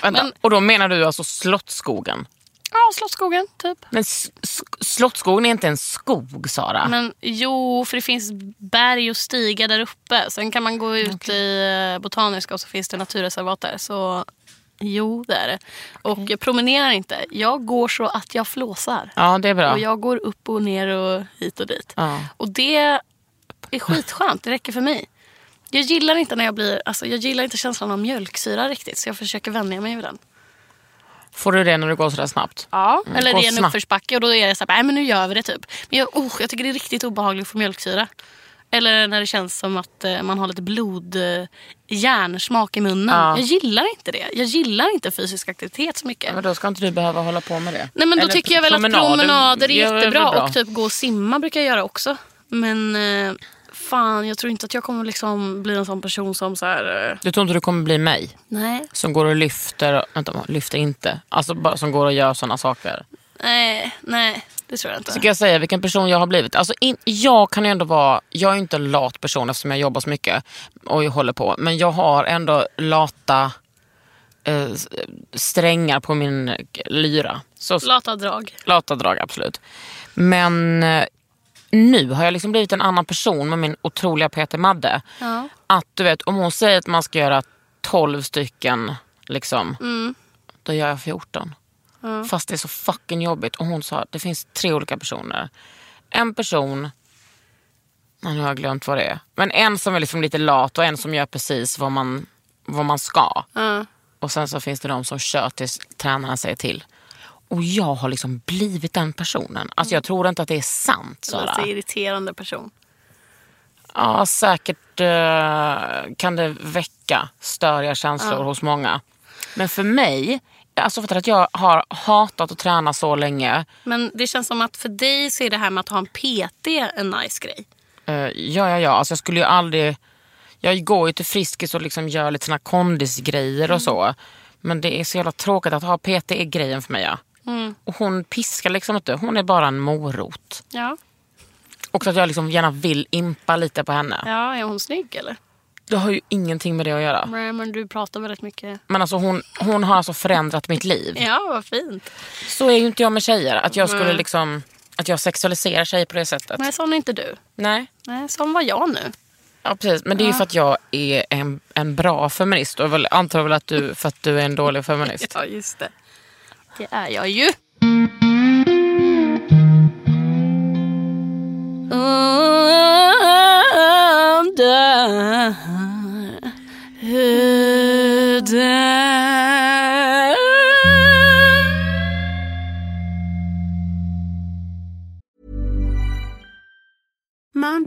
Vänta.
Men-
Och då menar du alltså Slottsskogen?
Ja, Slottsskogen typ.
Men s- s- Slottsskogen är inte en skog Sara.
Men jo, för det finns berg och stigar där uppe. Sen kan man gå ut i eh, Botaniska och så finns det naturreservat där. Så jo, det är det. Och jag promenerar inte. Jag går så att jag flåsar.
Ja det är bra.
Och jag går upp och ner och hit och dit.
Ja.
Och det är skitskönt. Det räcker för mig. Jag gillar inte när jag blir, alltså jag gillar inte känslan av mjölksyra riktigt så jag försöker vänja mig vid den.
Får du det när du går sådär snabbt?
Ja, eller
gå
det är en
snabbt.
uppförsbacke och då är det så här, nej men nu gör vi det typ. Men jag, oh, jag tycker det är riktigt obehagligt att få mjölksyra. Eller när det känns som att eh, man har lite blod, eh, järnsmak i munnen.
Ja.
Jag gillar inte det. Jag gillar inte fysisk aktivitet så mycket.
Ja, Men då ska inte du behöva hålla på med det.
Nej men då
Mm. Eller
tycker jag väl
promenader.
att promenader är
Ja, det
jättebra
bra.
och typ gå och simma brukar jag göra också. Men eh, fan jag tror inte att jag kommer liksom bli en sån person som så här. Eh,
Du tror inte du kommer bli mig?
nej.
Som går och lyfter, vänta lyfter inte. Alltså bara som går och gör sådana saker.
Nej, nej, det tror jag inte.
Ska jag säga vilken person jag har blivit? Alltså in, jag kan ju ändå vara, jag är ju inte en lat person eftersom jag jobbar så mycket och jag håller på. Men jag har ändå lata eh, s- strängar på min eh, lyra. Så,
Lata drag.
lata drag absolut. Men eh, nu har jag liksom blivit en annan person med min otroliga Peter Madde.
Ja.
Att du vet, om hon säger att man ska göra 12 stycken, liksom, då gör jag 14. Fast det är så fucking jobbigt. Och hon sa att det finns tre olika personer. En person, ja, nu har jag glömt vad det är. Men en som är liksom lite lat och en som gör precis vad man, vad man ska.
Ja.
Och sen så finns det de som kör tills tränaren säger till. Och jag har liksom blivit den personen. Alltså jag tror inte att det är sant
Det
Sara.
låter irriterande person.
Ja, säkert eh, kan det väcka störiga känslor hos många. Men för mig, alltså för att jag har hatat att träna så länge.
Men det känns som att för dig så är det här med att ha en PT en nice grej.
eh, ja, ja, ja. Alltså jag skulle ju aldrig... Jag går ju till Friskis och liksom gör lite såna kondisgrejer
Mm.
och så. Men det är så jävla tråkigt att ha PT är grejen för mig. Ja.
Mm.
Och hon piskar liksom inte. Hon är bara en morot.
Ja.
Och att jag liksom gärna vill impa lite på henne.
ja, är hon snygg eller?
Det har ju ingenting med det att göra.
Nej, men du pratar väldigt mycket.
Men alltså hon, hon har alltså förändrat mitt liv.
Ja, vad fint.
Så är ju inte jag med tjejer. Att jag skulle liksom att jag sexualiserar tjejer på det sättet.
Nej, sån är inte du.
Nej.
Nej, sån var jag nu.
Ja, precis. Men det är ju för att jag är en, en bra feminist. Och väl, antar väl att du, för att du är en dålig feminist.
Ja, just det. Det är jag ju. Under huden.
Mom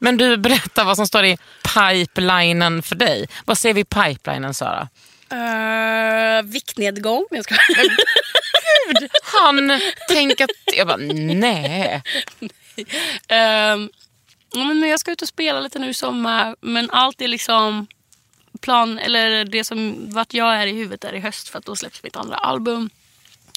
Men du, berätta vad som står i pipelinen för dig. Vad ser vi i pipelinen Sara?
Uh, viktnedgång. Jag ska...
Han tänker att... Jag bara, nej.
Ehm, ja, men jag ska ut och spela lite nu i sommar. Men allt är liksom plan, eller det som vart jag är i huvudet är i höst för att då släpps mitt andra album.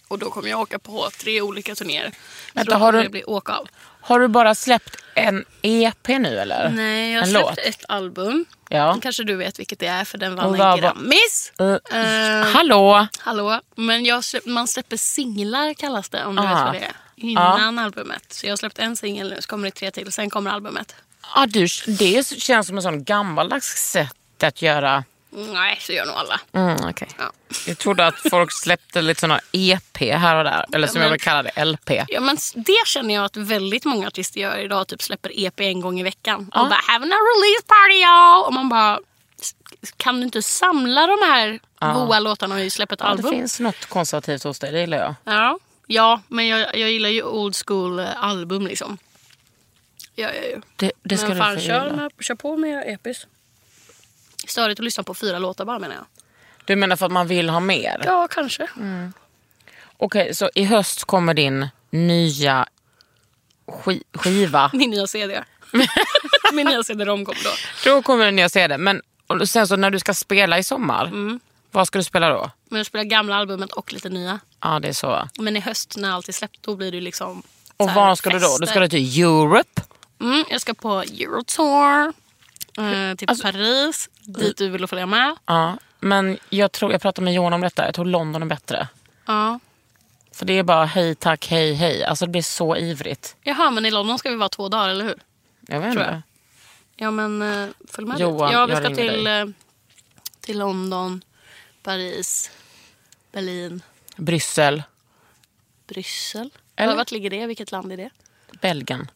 Och då kommer jag åka på tre olika turnéer. Så
Vänta,
då
har
kommer
du-
det bli åka av.
Har du bara släppt en EP nu eller?
Nej, jag
en
släppte
låt?
ett album.
Ja.
Kanske du vet vilket det är för
Och
den vann
vad
en
var-
Grammis.
Eh,
Ehm,
hallå?
Hallå, men jag, släpp- man släpper singlar kallas det om du
Ah.
vet vad det är. Innan albumet. Så jag har släppt en singel nu så kommer det tre till. Sen kommer albumet.
Ja, du, det känns som en sån gammaldags sätt att göra.
Nej, så gör nog alla.
Mm, okay.
Ja.
Jag trodde att folk släppte lite såna EP här och där. Eller som
Ja, men-
jag vill kalla det, LP.
Ja, men det känner jag att väldigt många artister gör idag. Typ släpper EP en gång i veckan. Och bara having a release party y'all. Och man bara, "S- kan du inte samla de här goa låtarna och släppa ett
Ja, det
album?
finns något konservativt hos dig, det gillar jag.
Ja, ja men jag, jag gillar ju old school eh, album liksom. Ja, ja, ja.
Det, det ska
men
du
fan,
få
kör,
gilla.
med, kör på med EPs. Störigt att lyssna på fyra låtar bara menar jag.
Du menar för att man vill ha mer?
Ja, kanske.
Mm. Okej, så i höst kommer din nya ski- skiva.
Min nya CD. Min nya CD-ROM kom då.
Då kommer den nya CD. Men och sen så när du ska spela i sommar, vad ska du spela då?
Men jag spelar gamla albumet och lite nya.
Ja, det är så. va?
Men i höst när allt är släppt då blir det ju liksom
Och
så här
var ska du då? Du ska
fester.
du till Europe?
mm, Jag ska på Eurotour. Eh, till
Alltså-
Paris, dit du vill följa med.
Ja, men jag tror jag pratade med Johan om detta. Jag tror London är bättre.
Ja.
För det är bara hej tack, hej hej. Alltså det blir så ivrigt.
Jaha, men i London ska vi vara två dagar, eller hur?
Jag vet
Tror
inte.
Ja, men eh, följ med
Johan,
dit. Ja, vi
jag
ska
ringer
till,
dig.
eh, till London, Paris, Berlin,
Bryssel,
Bryssel.
Eller?
Eller? Vart ligger det? Vilket land är det?
Belgien.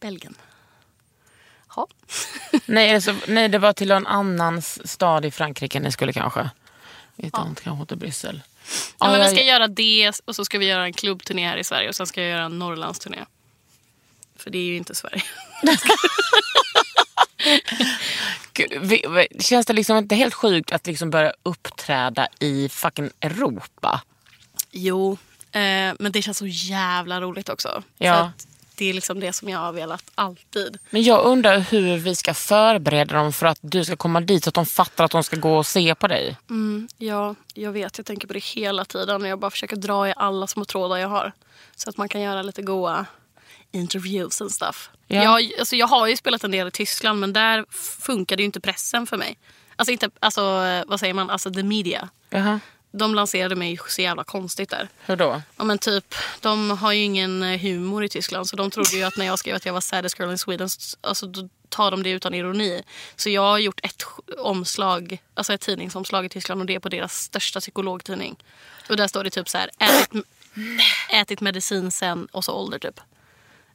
Belgien. Ja.
nej, alltså, nej, det var till en annan s- stad i Frankrike ni skulle kanske. Utan kanske till Bryssel.
Ja, men vi
jag-
ska göra det och så ska vi göra en klubbturné här i Sverige och sen ska jag göra en Norrlandsturné. För det är ju inte Sverige.
Gud, vi, vi, känns det liksom inte helt sjukt att liksom börja uppträda i fucking Europa?
Jo, eh, men det känns så jävla roligt också.
Ja.
För att det är liksom det som jag har velat alltid.
Men jag undrar hur vi ska förbereda dem för att du ska komma dit så att de fattar att de ska gå och se på dig.
Mm, ja, jag vet. Jag tänker på det hela tiden. och Jag bara försöker dra i alla små trådar jag har. Så att man kan göra lite goa interviews and stuff.
Ja.
Jag, alltså, jag har ju spelat en del i Tyskland men där funkade ju inte pressen för mig. Alltså, inte, alltså eh, vad säger man? Alltså the media.
Jaha.
De lanserade mig så jävla konstigt där.
Hur då?
Ja, men typ, de har ju ingen eh, humor i Tyskland så de trodde ju att när jag skrev att jag var saddest girl in Sweden s- alltså, då tar de det utan ironi. Så jag har gjort ett sj- omslag, alltså ett tidningsomslag i Tyskland och det är på deras största psykologtidning. Och där står det typ så här ätit, ätit medicin sen och så ålder typ.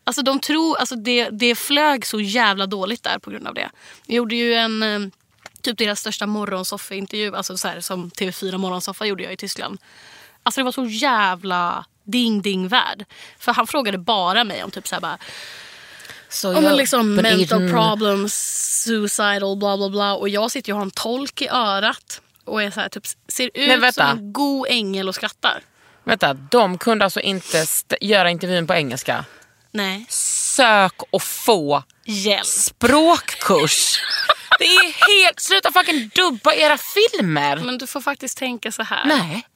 Alltså de tror, alltså det, det flög så jävla dåligt där på grund av det. Jag gjorde ju en, eh, typ deras största morgonsoffeintervju, alltså så här, som TV4 morgonsoffa gjorde jag i Tyskland. Alltså det var så jävla ding ding värld. För han frågade bara mig om typ så här bara,
Så
om liksom
But
mental
Eden-
problems, suicidal, bla bla bla. Och jag sitter ju och har en tolk i örat och är så här, typ, ser
Men
ut som
vänta.
en god ängel och skrattar.
Vänta, de kunde alltså inte st- göra intervjun på engelska?
Nej.
Sök och få
Hjälp.
språkkurs. Det är helt... Sluta fucking dubba era filmer.
Men du får faktiskt tänka så här.
Nej.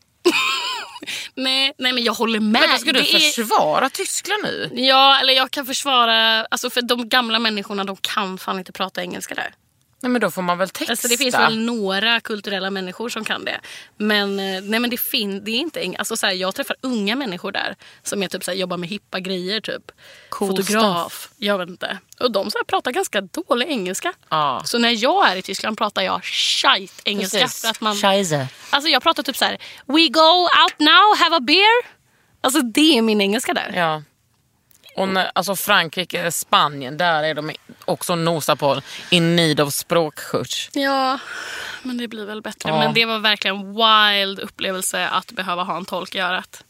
Nej, nej men jag håller med.
Vänta, ska du
Det är-
försvara Tyskland nu?
Ja, eller jag kan försvara... Alltså för de gamla människorna de kan fan inte prata engelska där.
Nej men då får man väl texta.
Alltså det finns väl några kulturella människor som kan det. Men, eh, nej, men det, fin- det är inte eng- alltså, så här, Jag träffar unga människor där som är, typ, så här, jobbar med hippa grejer. Typ.
Cool
Fotograf. Jag vet inte. Och de så här, pratar ganska dålig engelska.
Ja.
Så när jag är i Tyskland pratar jag shite engelska.
Precis.
För att man,
Scheisse.
alltså, jag pratar typ så här, we go out now, have a beer. Alltså det är min engelska där.
Ja. Och när, alltså Frankrike, Spanien, där är de också nosa på in need of språkkurs.
Ja, men det blir väl bättre.
Ja.
Men det var verkligen en wild upplevelse att behöva ha en tolk i örat.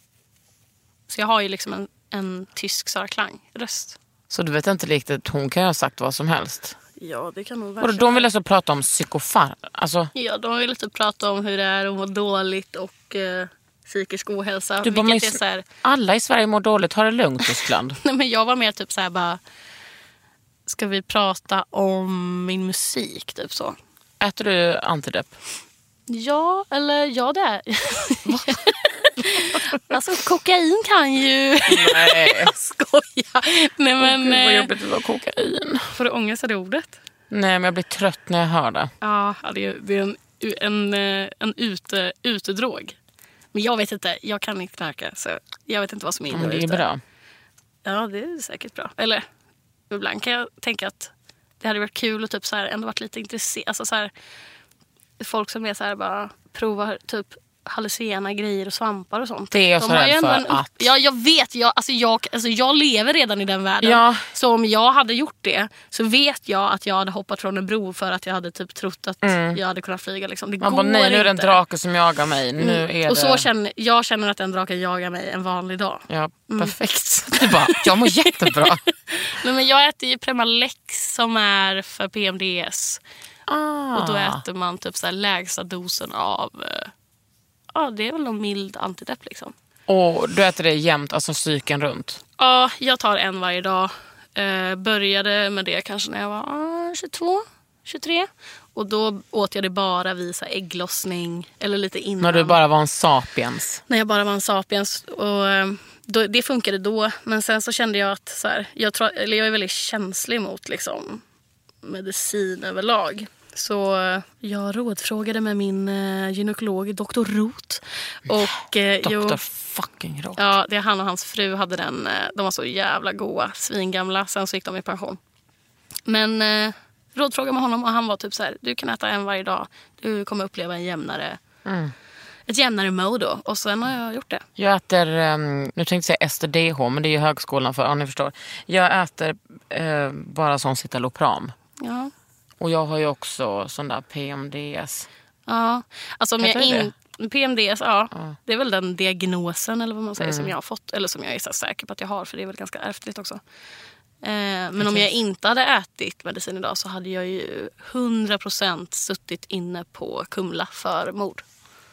Så jag har ju liksom en, en tysk Sara Klang-röst.
Så du vet inte riktigt, hon kan ju ha sagt vad som helst.
Ja, det kan hon
Och de vill alltså prata om psykofar. Alltså,
Ja, de ville typ prata om hur det är att må dåligt och eh, psykisk ohälsa.
du bara, men,
vilket är så här,
Alla i Sverige mår dåligt, har det lugnt Tyskland.
nej, men jag var mer typ så här bara... Ska vi prata om min musik? Typ så.
Äter du antidepp?
Ja, eller ja det är. alltså kokain kan ju...
Nej.
Jag skojar. Nej, men,
Gud vad
eh,
jobbigt det var kokain.
får du ångest av det ordet?
Nej men jag blir trött när jag hör det.
Ja, ja, det är, det är en, en, eh, en ute, utedrog. Men jag vet inte, jag kan inte knarka så jag vet inte vad som är inne
Men
och
det är
ute.
bra.
Ja, det är säkert bra. Eller ibland kan jag tänka att det hade varit kul och typ så här, ändå varit lite intresserad. Alltså så här, folk som är så här bara provar typ hallucinogena grejer och svampar och sånt.
Det är jag
De
så
har ju
rädd
ändå
för
en upp-
att-
Ja, jag vet. Jag, alltså jag, alltså jag lever redan i den världen.
Ja.
Så om jag hade gjort det så vet jag att jag hade hoppat från en bro för att jag hade typ trott att jag hade kunnat flyga. Liksom. Det
Mm. Man
går
bara, nej nu är det en
inte. Mm.
drake som jagar mig. Nu är
Och
det...
så känner, jag känner att den draken jagar mig en vanlig dag. Mm.
Ja, perfekt. Du bara, jag mår jättebra.
Nej, men jag äter ju Premalex som är för PMDS.
Ah.
Och då äter man typ så här lägsta dosen av... eh, Ja, det är väl någon mild antidepp liksom.
Och du äter det jämt, alltså cykeln runt?
Ja, jag tar en varje dag. Eh, började med det kanske när jag var ah, 22, 23. Och då åt jag det bara vid så här ägglossning eller lite innan.
När du bara var en sapiens?
när jag bara var en sapiens. Och, eh, då, det funkade då, men sen så kände jag att så här, jag, tror, eller jag är väldigt känslig mot liksom, medicin överlag. Så eh, jag rådfrågade med min eh, gynekolog, Dr. Roth. Och, eh, jo-
Dr. fucking Rock.
Ja, det är han och hans fru hade den. eh, De var så jävla goa, svingamla. Sen så gick de i pension. Men eh, rådfråga med honom och han var typ så här, du kan äta en varje dag. Du kommer uppleva en jämnare, ett jämnare mode då. Och sen har jag gjort det.
Jag äter, ehm, nu tänkte jag säga STDH, men det är ju högskolan för, ja ni förstår. Jag äter eh, bara sån citalopram.
Ja.
Och jag har ju också sån där PMDS.
Ja, alltså om
Heter
jag
det
in... PMDS, ja. Det är väl den diagnosen eller vad man säger
Mm.
som jag har fått. Eller som jag är så här säker på att jag har för det är väl ganska ärftligt också. Eh, men om jag inte hade ätit medicin idag så hade jag ju 100% suttit inne på Kumla för mord.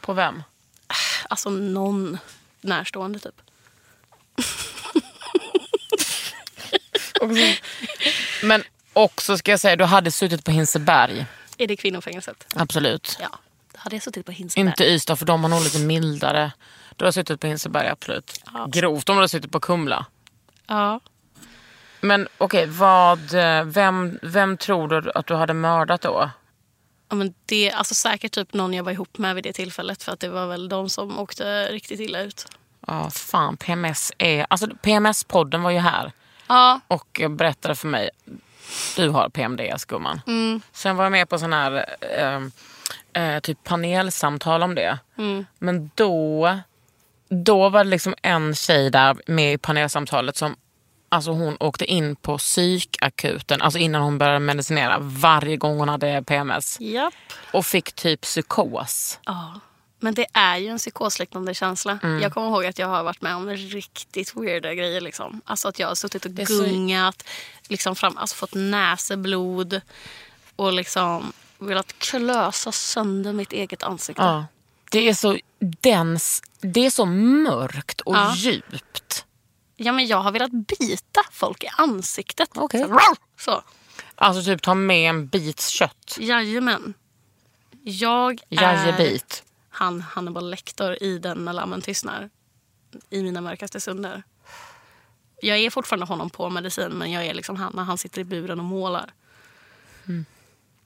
På vem?
Alltså någon närstående typ.
Men också ska jag säga, du hade suttit på Hinseberg.
Är det kvinnofängelset?
Absolut.
Ja, då hade jag suttit på Hinseberg.
Inte Ystad för de har nog lite mildare. Du har suttit på Hinseberg absolut. Grovt om du har suttit på Kumla.
Ja.
Men okej, vad, eh, vem, vem tror du att du hade mördat då?
Ja, men det, alltså säkert typ någon jag var ihop med vid det tillfället för att det var väl de som åkte riktigt illa ut.
Ja, fan PMS är... Alltså PMS-podden var ju här
Ja,
och berättade för mig. Du har PMDS gumman.
Mm.
Sen var jag med på sån här eh, eh, typ panelsamtal om det.
Mm.
Men då, då var det liksom en tjej där med i panelsamtalet som Alltså hon åkte in på psykakuten, alltså innan hon började medicinera, varje gång hon hade PMS.
japp.
Och fick typ psykos.
Ja. Men det är ju en psykosliknande känsla.
Mm.
Jag kommer ihåg att jag har varit med om riktigt weirda grejer. Liksom. Alltså att jag har suttit och
är så-
gungat, liksom fram, alltså fått näseblod och liksom velat klösa sönder mitt eget ansikte.
Ja. Det är så dens, det är så mörkt och
Ja.
djupt.
Ja, men jag har velat bita folk i ansiktet.
Okej.
Så, "Rau!" så.
Alltså typ ta med en bit kött.
Jajamän. Jag är
Jajebit.
han Hannibal Lecter i Den när lammen tystnar. I mina mörkaste stunder. Jag är fortfarande honom på medicin men jag är liksom han när han sitter i buren och målar.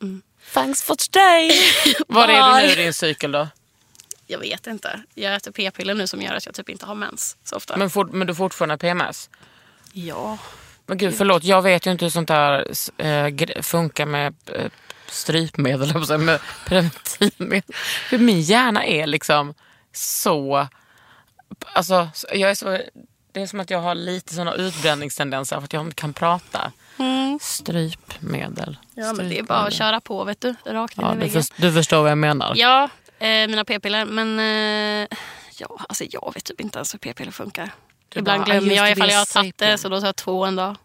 Eh, Thanks for today. Var är du nu i din cykel då?
Jag vet inte. Jag äter p-piller nu som gör att jag typ inte har mens så ofta.
Men, fort, men du har fortfarande PMS?
Ja.
Men gud förlåt, jag vet ju inte hur sånt där eh, gre- funkar med eh, strypmedel, höll jag på att säga, med preventivmedel. Hur min hjärna är liksom så... Alltså, så- jag är så... Det är som att jag har lite såna utbränningstendenser för att jag inte kan prata. Mm. Strypmedel.
ja men det är bara att köra på vet du. Rakt in
Ja,
i
du,
väggen.
förs- du förstår vad jag menar.
Ja, eh, mina p-piller. Men eh, ja, alltså jag vet typ inte ens hur p-piller funkar.
Du
Ibland
bara, "Ah,
glömmer
just
jag
det,
ifall
det är
jag har tagit det
sapien."
så då tar jag två en dag.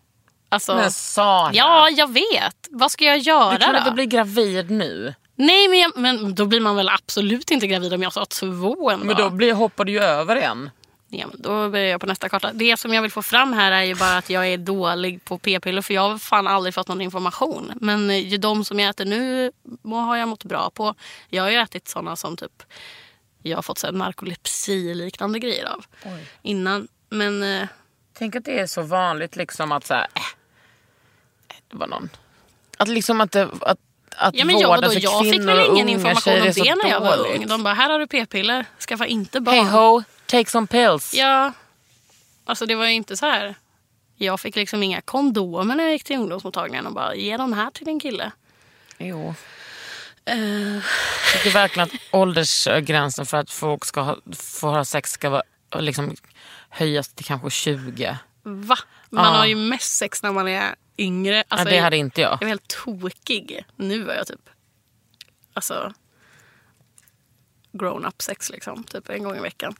Alltså,
Men Sara,
ja, jag vet. Vad ska jag göra
du kan
då?
inte bli gravid nu.
Nej, men, jag, men då blir man väl absolut inte gravid om jag tar två en
Men då
dag.
blir, hoppar du ju över en.
Ja, men då börjar jag på nästa karta. Det som jag vill få fram här är ju bara att jag är dålig på p-piller för jag har fan aldrig fått någon information. Men eh, ju de som jag äter nu må- har jag mått bra på. Jag har ju ätit såna som typ jag har fått så här narkolepsi-liknande grejer av innan. Men eh,
Tänk att det är så vanligt liksom att så här, äh, det var någon. Att liksom att, det, att, att
ja, men jag,
vården
vadå,
för
jag
kvinnor
fick väl
och
ingen
unga
information
tjejer
om
är
det
så
när jag var
dåligt.
ung. De bara, här har du p-piller, skaffa inte barn.
Hey ho, take some pills.
Ja. Alltså det var ju inte så här. Jag fick liksom inga kondomer när jag gick till ungdomsmottagningen och bara ge de här till din kille.
Jo. Jag tycker verkligen att åldersgränsen för att folk ska ha, få ha sex ska vara, liksom, höjas till kanske 20.
Va? Man
Ja.
har ju mest sex när man är yngre. Alltså,
Nej, det hade inte
Jag
jag.
är helt tokig. Nu är jag typ... Alltså... Grown up sex liksom. Typ en gång i veckan.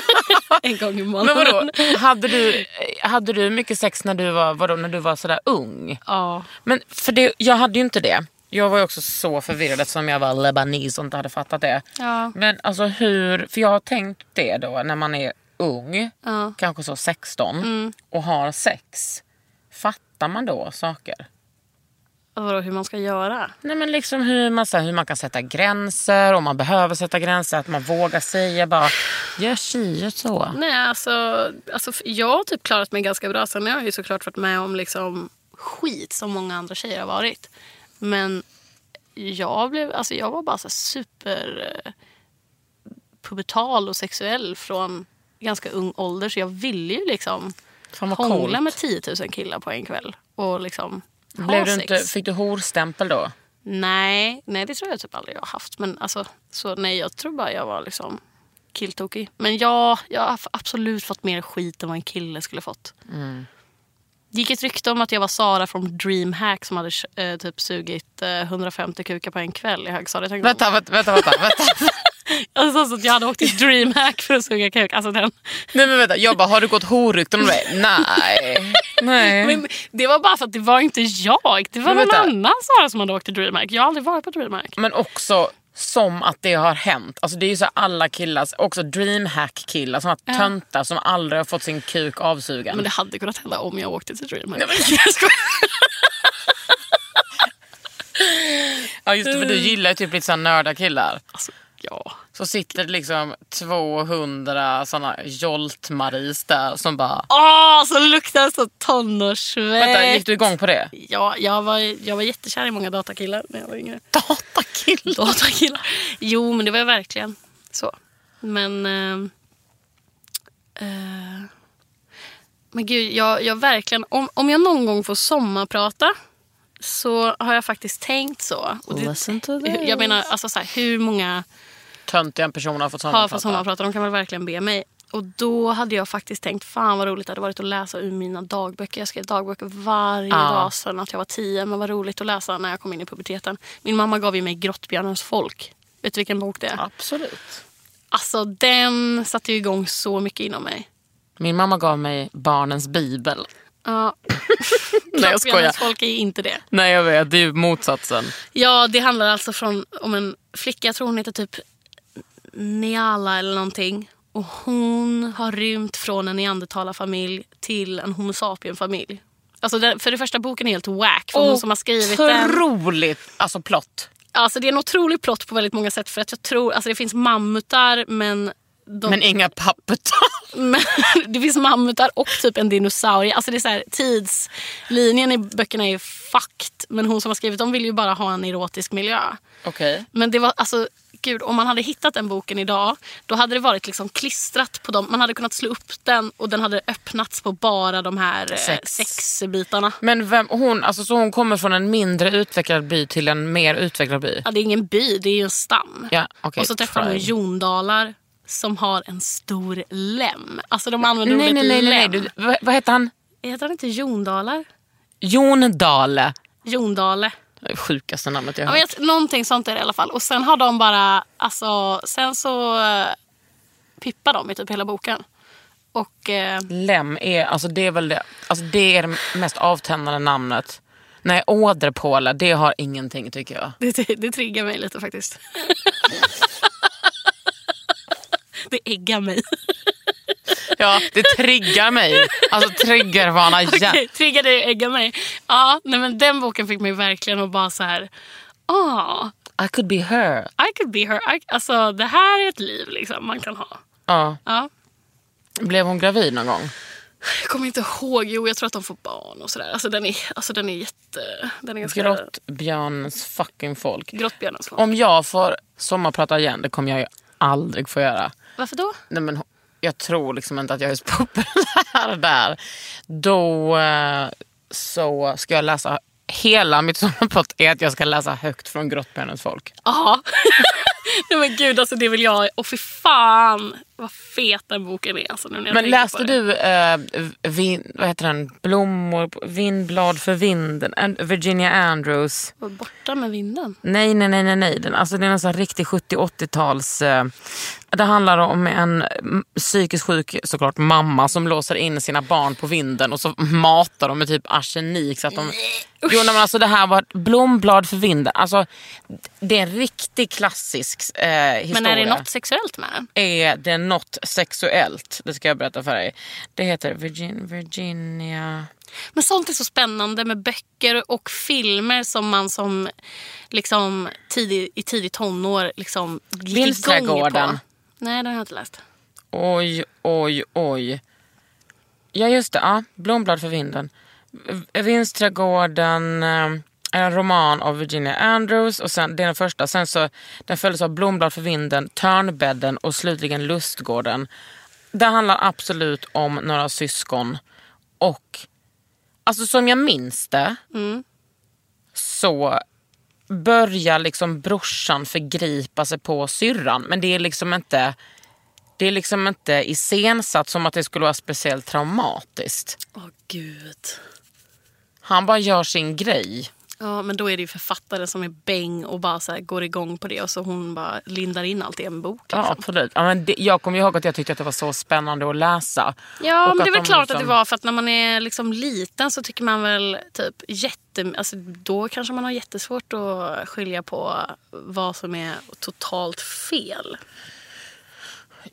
en gång i
Men
månaden.
vadå, hade du, hade du mycket sex när du var, vadå, när du var sådär ung?
Ja.
Men för det, jag hade ju inte det. Jag var ju också så förvirrad eftersom jag var lebanis och inte hade fattat det.
Ja.
Men alltså hur, för jag har tänkt det då när man är ung,
Ja. Mm.
kanske så 16 och har sex. Fattar man då saker?
Och vadå, hur man ska göra?
Nej men liksom hur man, så här, hur man kan sätta gränser, om man behöver sätta gränser, att man vågar säga bara gör si, gör så.
Nej, alltså, alltså f- jag har typ klarat mig ganska bra. Sen har jag ju såklart varit med om liksom skit som många andra tjejer har varit. Men jag, blev, alltså jag var bara så här super eh, pubertal och sexuell från ganska ung ålder så jag ville ju liksom
Fan vad
hångla
coolt.
med 10 000 killar på en kväll och liksom ha
Blev du
sex.
inte, fick du horstämpel då?
Nej, nej, det tror jag typ aldrig jag har haft. Men alltså, så nej, jag tror bara jag var liksom killtokig. Men ja, jag har f- absolut fått mer skit än vad en kille skulle fått.
Mm.
Det gick ett rykte om att jag var Sara från Dreamhack som hade eh, typ sugit eh, 150 kukar på en kväll i högstadiet. Jag tänkte,
Vänta, vänta, vänta. vänta, vänta.
Alltså, så att jag hade åkt till Dreamhack för att suga kuk. Alltså, den.
Nej men vänta, jag bara har du gått horrykten om mig? Nej. Nej.
Men det var bara för att det var inte jag. Det var
Men
någon
vänta.
annan Sara som hade åkt till Dreamhack. Jag har aldrig varit på Dreamhack.
Men också som att det har hänt. Alltså det är ju så här alla killars, också dreamhack-killar, såna töntar som aldrig har fått sin kuk avsugen.
Men det hade kunnat hända om jag åkte till Dreamhack. Jag skojar.
Ja just det, för du gillar ju typ lite såhär nörda killar.
Alltså, ja.
Så sitter det liksom 200 såna jolt-Maris där som bara...
Åh, så luktar det så tonårssvett.
Vänta, gick du igång på det?
Ja, jag var, jag var jättekär i många datakillar när jag var yngre.
Datakillar!
Datakillar? Jo, men det var jag verkligen. Så. Men... Eh, eh, men gud, jag, jag verkligen... Om, om jag någon gång får sommarprata så har jag faktiskt tänkt så. Och det,
Listen to this.
jag menar, alltså så här, hur många
Töntiga personer har fått
har
sommarprata.
fått sommarprata? De kan väl verkligen be mig. Och då hade jag faktiskt tänkt, fan vad roligt det hade varit att läsa ur mina dagböcker. Jag skrev dagböcker varje
Ja.
dag sedan att jag var tio. Men vad roligt att läsa när jag kom in i puberteten. Min mamma gav ju mig Grottbjörnens folk. Vet du vilken bok det är?
Absolut.
Alltså den satte ju igång så mycket inom mig.
Min mamma gav mig barnens bibel.
Ja,
Nej jag skojar.
Grottbjörnens folk är ju inte det.
Nej jag vet, det är ju motsatsen.
Ja, det handlar alltså från, om en flicka, jag tror hon heter typ Niala eller någonting. Och hon har rymt från en neandertalarfamilj till en homo sapien-familj. Alltså den, för det första boken är helt wack för hon som har skrivit den.
Otroligt alltså plott.
Alltså det är en otrolig plott på väldigt många sätt för att jag tror, alltså det finns mammutar men de,
Men inga pappetar.
men det finns mammutar och typ en dinosaurie. Alltså det är så här, tidslinjen i böckerna är ju fucked. Men hon som har skrivit dem vill ju bara ha en erotisk miljö.
Okej.
Men det var alltså, gud, om man hade hittat den boken idag, då hade det varit liksom klistrat på dem. Man hade kunnat slå upp den och den hade öppnats på bara de här eh,
Sex.
sexbitarna.
Men vem, hon, alltså, så hon kommer från en mindre utvecklad by till en mer utvecklad by?
Ja, det är ingen by, det är ju en stam.
Ja, okej,
och så träffar hon
tribe.
jondalar som har en stor lem. Alltså de använder
Nej, nej,
ordet
nej. nej, nej.
lem.
Du, vad, vad heter han?
Heter han inte jondalar?
Jon Dale.
Jondale.
Det sjukaste namnet jag
Ja,
har
men
hört.
jag, någonting sånt är det i alla fall. Och sen har de bara, alltså, sen så eh, pippar de i typ hela boken. Och eh,
Lem är, alltså, det är väl det, alltså, det, är det mest avtändande namnet. Nej, åderpåle, det har ingenting tycker jag.
det, det triggar mig lite faktiskt. det äggar mig.
Ja, det triggar mig. Alltså triggervarna igen.
Okej, triggar dig och äggar mig. Ja, nej, men den boken fick mig verkligen att bara så här, ah,
I could be her.
I could be her. I, alltså det här är ett liv liksom man kan ha.
Ja.
Ja.
Blev hon gravid någon gång?
Jag kommer inte ihåg, jo jag tror att de får barn och sådär. Alltså den är, alltså, den är jätte, den är ganska...
Grottbjörnens fucking folk.
Grottbjörnens folk.
Om jag får sommarprata igen, det kommer jag ju aldrig få göra.
Varför då?
Nej, men jag tror liksom inte att jag är så populär där. Då eh, så ska jag läsa, hela mitt sommarprat är att jag ska läsa högt från Grottbjörnens folk.
Ja. Nej men gud, alltså det vill jag. Och fy fan vad fet den boken är. Alltså, nu när jag
Men
tänker
läste
på det.
du eh, vin, vad heter den? Blommor, på- vindblad för vinden, An- Virginia Andrews.
Var borta med vinden.
Nej, nej, nej, nej. nej. Den, alltså, det är en sån här riktig 70-80-tals... Eh, det handlar om en mm, psykiskt sjuk såklart mamma som låser in sina barn på vinden och så matar dem med typ arsenik. Så att de, jo, nej, men alltså, det här var ett blomblad för vinden. Alltså, det är en riktig klassisk eh, historia.
Men är det något sexuellt med den?
Är det något sexuellt? Det ska jag berätta för dig. Det heter Virgin, Virginia...
Men sånt är så spännande med böcker och filmer som man som liksom tidig, i tidig tonår liksom gick igång
Vildträdgården.
på. Nej, den har jag inte läst.
Oj, oj, oj. Ja, just det. Ja. Blomblad för vinden. V- Vinsträdgården, eh, en roman av Virginia Andrews. Och sen, det är den första. Sen så, den följdes av Blomblad för vinden, Törnbädden och slutligen Lustgården. Det handlar absolut om några syskon. Och alltså som jag minns det så börjar liksom brorsan förgripa sig på syrran. Men det är liksom inte... Det är liksom inte iscensatt som att det skulle vara speciellt traumatiskt.
Åh gud.
Han bara gör sin grej.
Ja, men då är det ju författaren som är bäng och bara så här går igång på det och så hon bara lindar in allt i en bok. Liksom.
Ja, absolut. Ja, men det, jag kommer ihåg att jag tyckte att det var så spännande att läsa.
Ja,
Och
men det är
att
väl
de
klart
liksom-
att det var för att när man är liksom liten så tycker man väl typ jätte... Alltså, då kanske man har jättesvårt att skilja på vad som är totalt fel.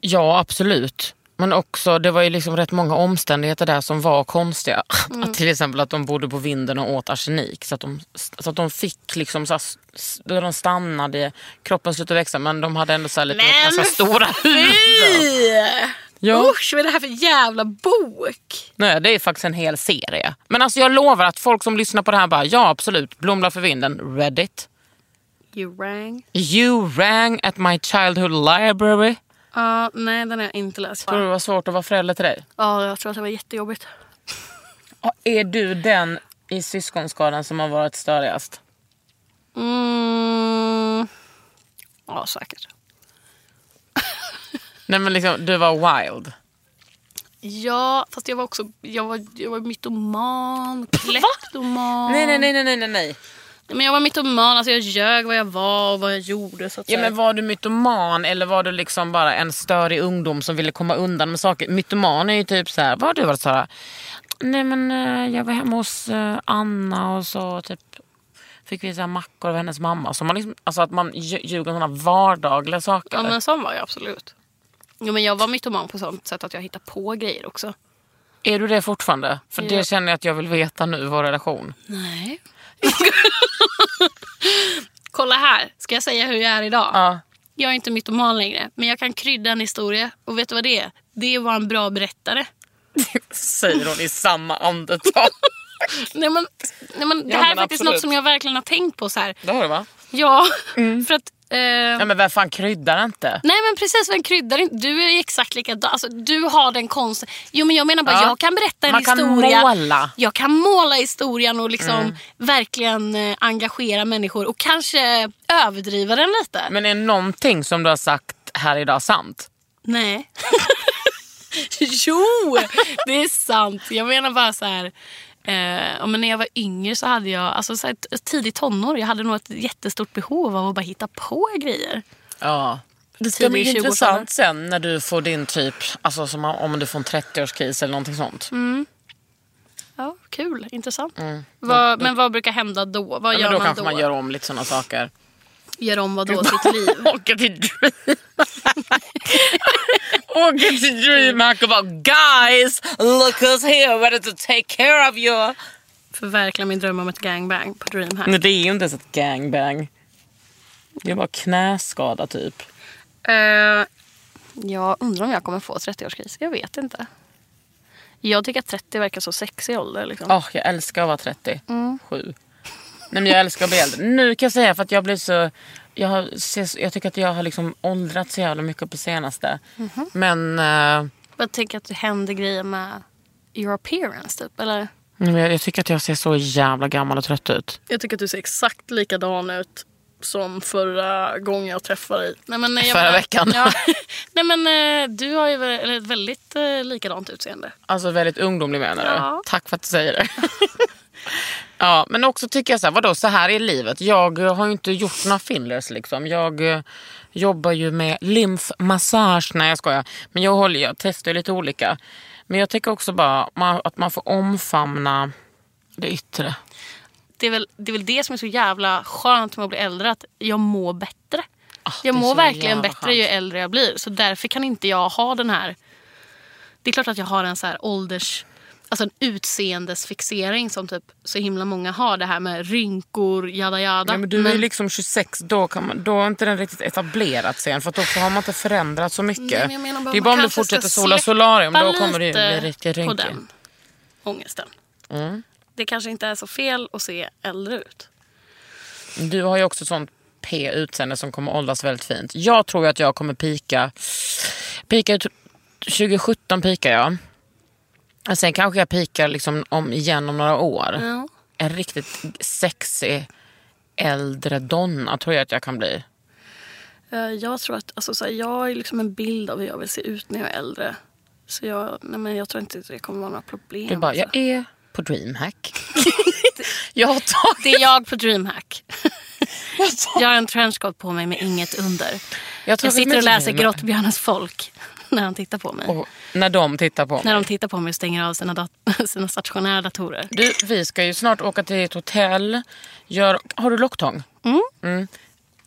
Ja, absolut. Men också, det var ju liksom rätt många omständigheter där som var konstiga.
Mm.
Att till exempel att de bodde på vinden och åt arsenik. Så att de, så att de fick liksom, så här, s- s- då de stannade, kroppen slutade växa men de hade ändå så här lite
Men
ganska stora huvuden. Ja.
Usch, vad är det här för jävla bok?
Nej, det är faktiskt en hel serie. Men alltså jag lovar att folk som lyssnar på det här bara, ja absolut, Blomblad för vinden, Reddit.
You rang.
You rang at my childhood library.
Ja, nej den har jag inte läst.
Tror du det
Ja,
var svårt att vara förälder till dig?
jag tror att det var jättejobbigt.
Är du den i syskonskaran som har varit störigast?
Mm. Ja, säkert.
Nej men liksom, du var wild.
Ja, fast jag var också jag var, jag var mytoman, kleptoman.
Nej, nej, nej, nej, nej, nej, nej.
Nej, Men jag var mytoman, alltså jag ljög vad jag var och vad jag gjorde. Så att
Ja
säga.
men var du mytoman eller var du liksom bara en störig ungdom som ville komma undan med saker? Mytoman är ju typ så här, vad har du varit Sara? Nej men eh, jag var hemma hos eh, Anna och så typ fick vi så här mackor av hennes mamma. Så man liksom, alltså att man lj- ljuger om sådana vardagliga saker.
ja men sån var jag absolut. Jo, men jag var mytoman på sånt sätt att jag hittade på grejer också.
Är du det fortfarande? För
Ja.
det känner jag att jag vill veta nu, vår relation.
Nej. Kolla här, ska jag säga hur jag är idag?
Ja.
Jag är inte mytoman längre, men jag kan krydda en historia. Och vet du vad det är? Det var en bra berättare.
Säger hon i samma andetag.
Nej, men, nej, men, det
Ja,
här är
men
faktiskt
absolut.
något som jag verkligen har tänkt på. så här.
det har du va?
Ja,
Mm.
för att... eh,
Ja men vem fan kryddar inte?
Nej men precis, vem kryddar inte? Du är ju exakt likadan. Alltså, du har den konsten. Jo men jag menar bara,
Ja.
jag kan berätta en
Man kan
historia.
måla. Mm.
Jag kan måla historien och liksom verkligen eh, engagera människor och kanske överdriva den lite.
Men är någonting som du har sagt här idag sant?
Nej. jo, det är sant. Jag menar bara så här. Eh, ja, men när jag var yngre så hade jag, alltså så här, t- tidigt tonår, jag hade nog ett jättestort behov av att bara hitta på grejer.
Ja. Det ska
Tidig
bli
20-årsåldern.
intressant sen när du får din typ, alltså som om du får en 30-årskris eller någonting sånt.
Ja, kul, intressant. Vad, men vad brukar hända då? Vad
Mm. ja,
gör
men då
man
kanske
då?
man gör om lite sådana saker.
Gör om vad då? Sitt liv?
Åka till Dream. Åka till DreamHack och bara guys, look who's here, ready to take care of you.
Förverkliga min dröm om ett gangbang på Dreamhack.
Nej, det är ju inte ens ett gangbang. Det är bara knäskada typ.
Eh, jag undrar om jag kommer få 30-årskris. Jag vet inte. Jag tycker att 30 verkar så sexig ålder. Liksom.
Åh, jag älskar att vara 37. Sju. Nej, men jag älskar att bli äldre. Nu kan jag säga för att jag blir så... Jag, har, ses- jag tycker att jag har liksom åldrats så jävla mycket på senaste. Men eh,
Jag tänker att det händer grejer med your appearance typ. Eller?
nej, men jag, jag tycker att jag ser så jävla gammal och trött ut.
Jag tycker att du ser exakt likadan ut som förra gången jag träffade dig. Nej, men, eh, jag
Förra
bara-
veckan.
Ja. Nej men eh, du har ju vä- eller ett väldigt eh, likadant utseende.
Alltså väldigt ungdomlig menar du?
Ja.
Tack för att du säger det. ja, men också tycker jag så här, vadå så här är livet. Jag eh, har ju inte gjort några fillers liksom. Jag eh, jobbar ju med lymfmassage. Nej jag skojar. Men jag håller, jag testar ju lite olika. Men jag tycker också bara ma- att man får omfamna det yttre.
det är, väl, det är väl det som är så jävla skönt med att bli äldre, att jag mår bättre. jag
Ah, det är
mår
så
verkligen
jävla
bättre ju äldre jag blir. Så därför kan inte jag ha den här... Det är klart att jag har en så här ålders... Alltså en utseendesfixering som typ så himla många har. Det här med rynkor, jada jada.
Ja, men du är ju liksom 26, då, kan man, då är inte den riktigt etablerat sen. För att då har man inte förändrat så mycket.
Nej, men jag menar bara,
det är
man
bara om du
kanske ska
fortsätter sola
släppa
solarium, då kommer du ju
lite
bli riktigt Mm.
på
rynkig.
den ångesten. Det kanske inte är så fel att se äldre ut.
Du har ju också ett sånt P utseende som kommer åldras väldigt fint. Jag tror att jag kommer pika. pika ut- 2017 pikar jag. Och sen kanske jag pikar liksom om igen om några år.
Ja.
En riktigt sexig äldre donna tror jag att jag kan bli.
Eh, Jag tror att, alltså, så här, jag har ju liksom en bild av hur jag vill se ut när jag är äldre. Så jag, nej, men jag tror inte det kommer vara några problem.
Du bara, jag
alltså.
är på DreamHack. jag har tagit...
Det är jag på DreamHack. jag har en trenchcoat på mig med inget under.
Jag, har
Jag
tagit
sitter
mig
och läser
till-
Grottbjörnens folk när han tittar på mig.
Och när de tittar på
När
mig.
de tittar på mig och stänger av sina, dat- sina stationära datorer.
Du, vi ska ju snart åka till ett hotell. Gör... Har du locktång?
Mm.
Mm.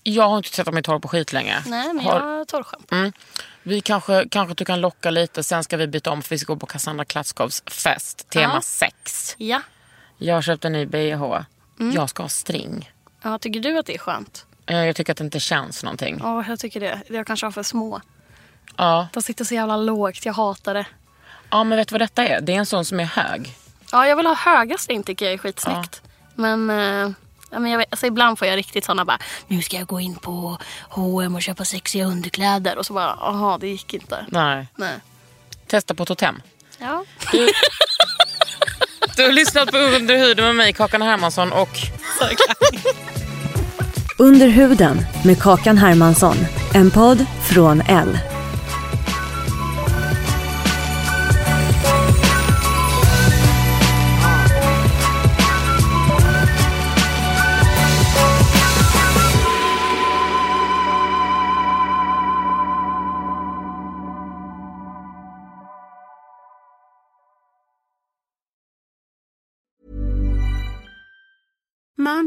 Jag har inte tvättat mig torr på skit länge.
Nej, men
har...
jag har Mm. torrskämt.
Vi kanske, kanske du kan locka lite, sen ska vi byta om för vi ska gå på Cassandra Klatskovs fest, tema
Ja.
sex.
Ja.
Jag har köpt en ny bh.
Mm.
Jag ska ha string.
ja. Tycker du att det är skönt?
Eh, Jag tycker att det inte känns någonting.
Ja, jag tycker det. Jag kanske har för små.
Ja.
De sitter så jävla lågt. Jag hatar det.
ja, men vet du vad detta är? Det är en sån som är hög.
Ja, jag vill ha höga string tycker jag är skitsnyggt. Men, eh, ja, men jag vet, alltså, ibland får jag riktigt såna bara, nu ska jag gå in på H&M och köpa sexiga underkläder. Och så bara, aha, det gick inte.
Nej.
Nej.
Testa på Totem.
Ja.
Du har lyssnat på Under huden med mig, Kakan Hermansson och...
Under huden med Kakan Hermansson. En podd från L.
Mom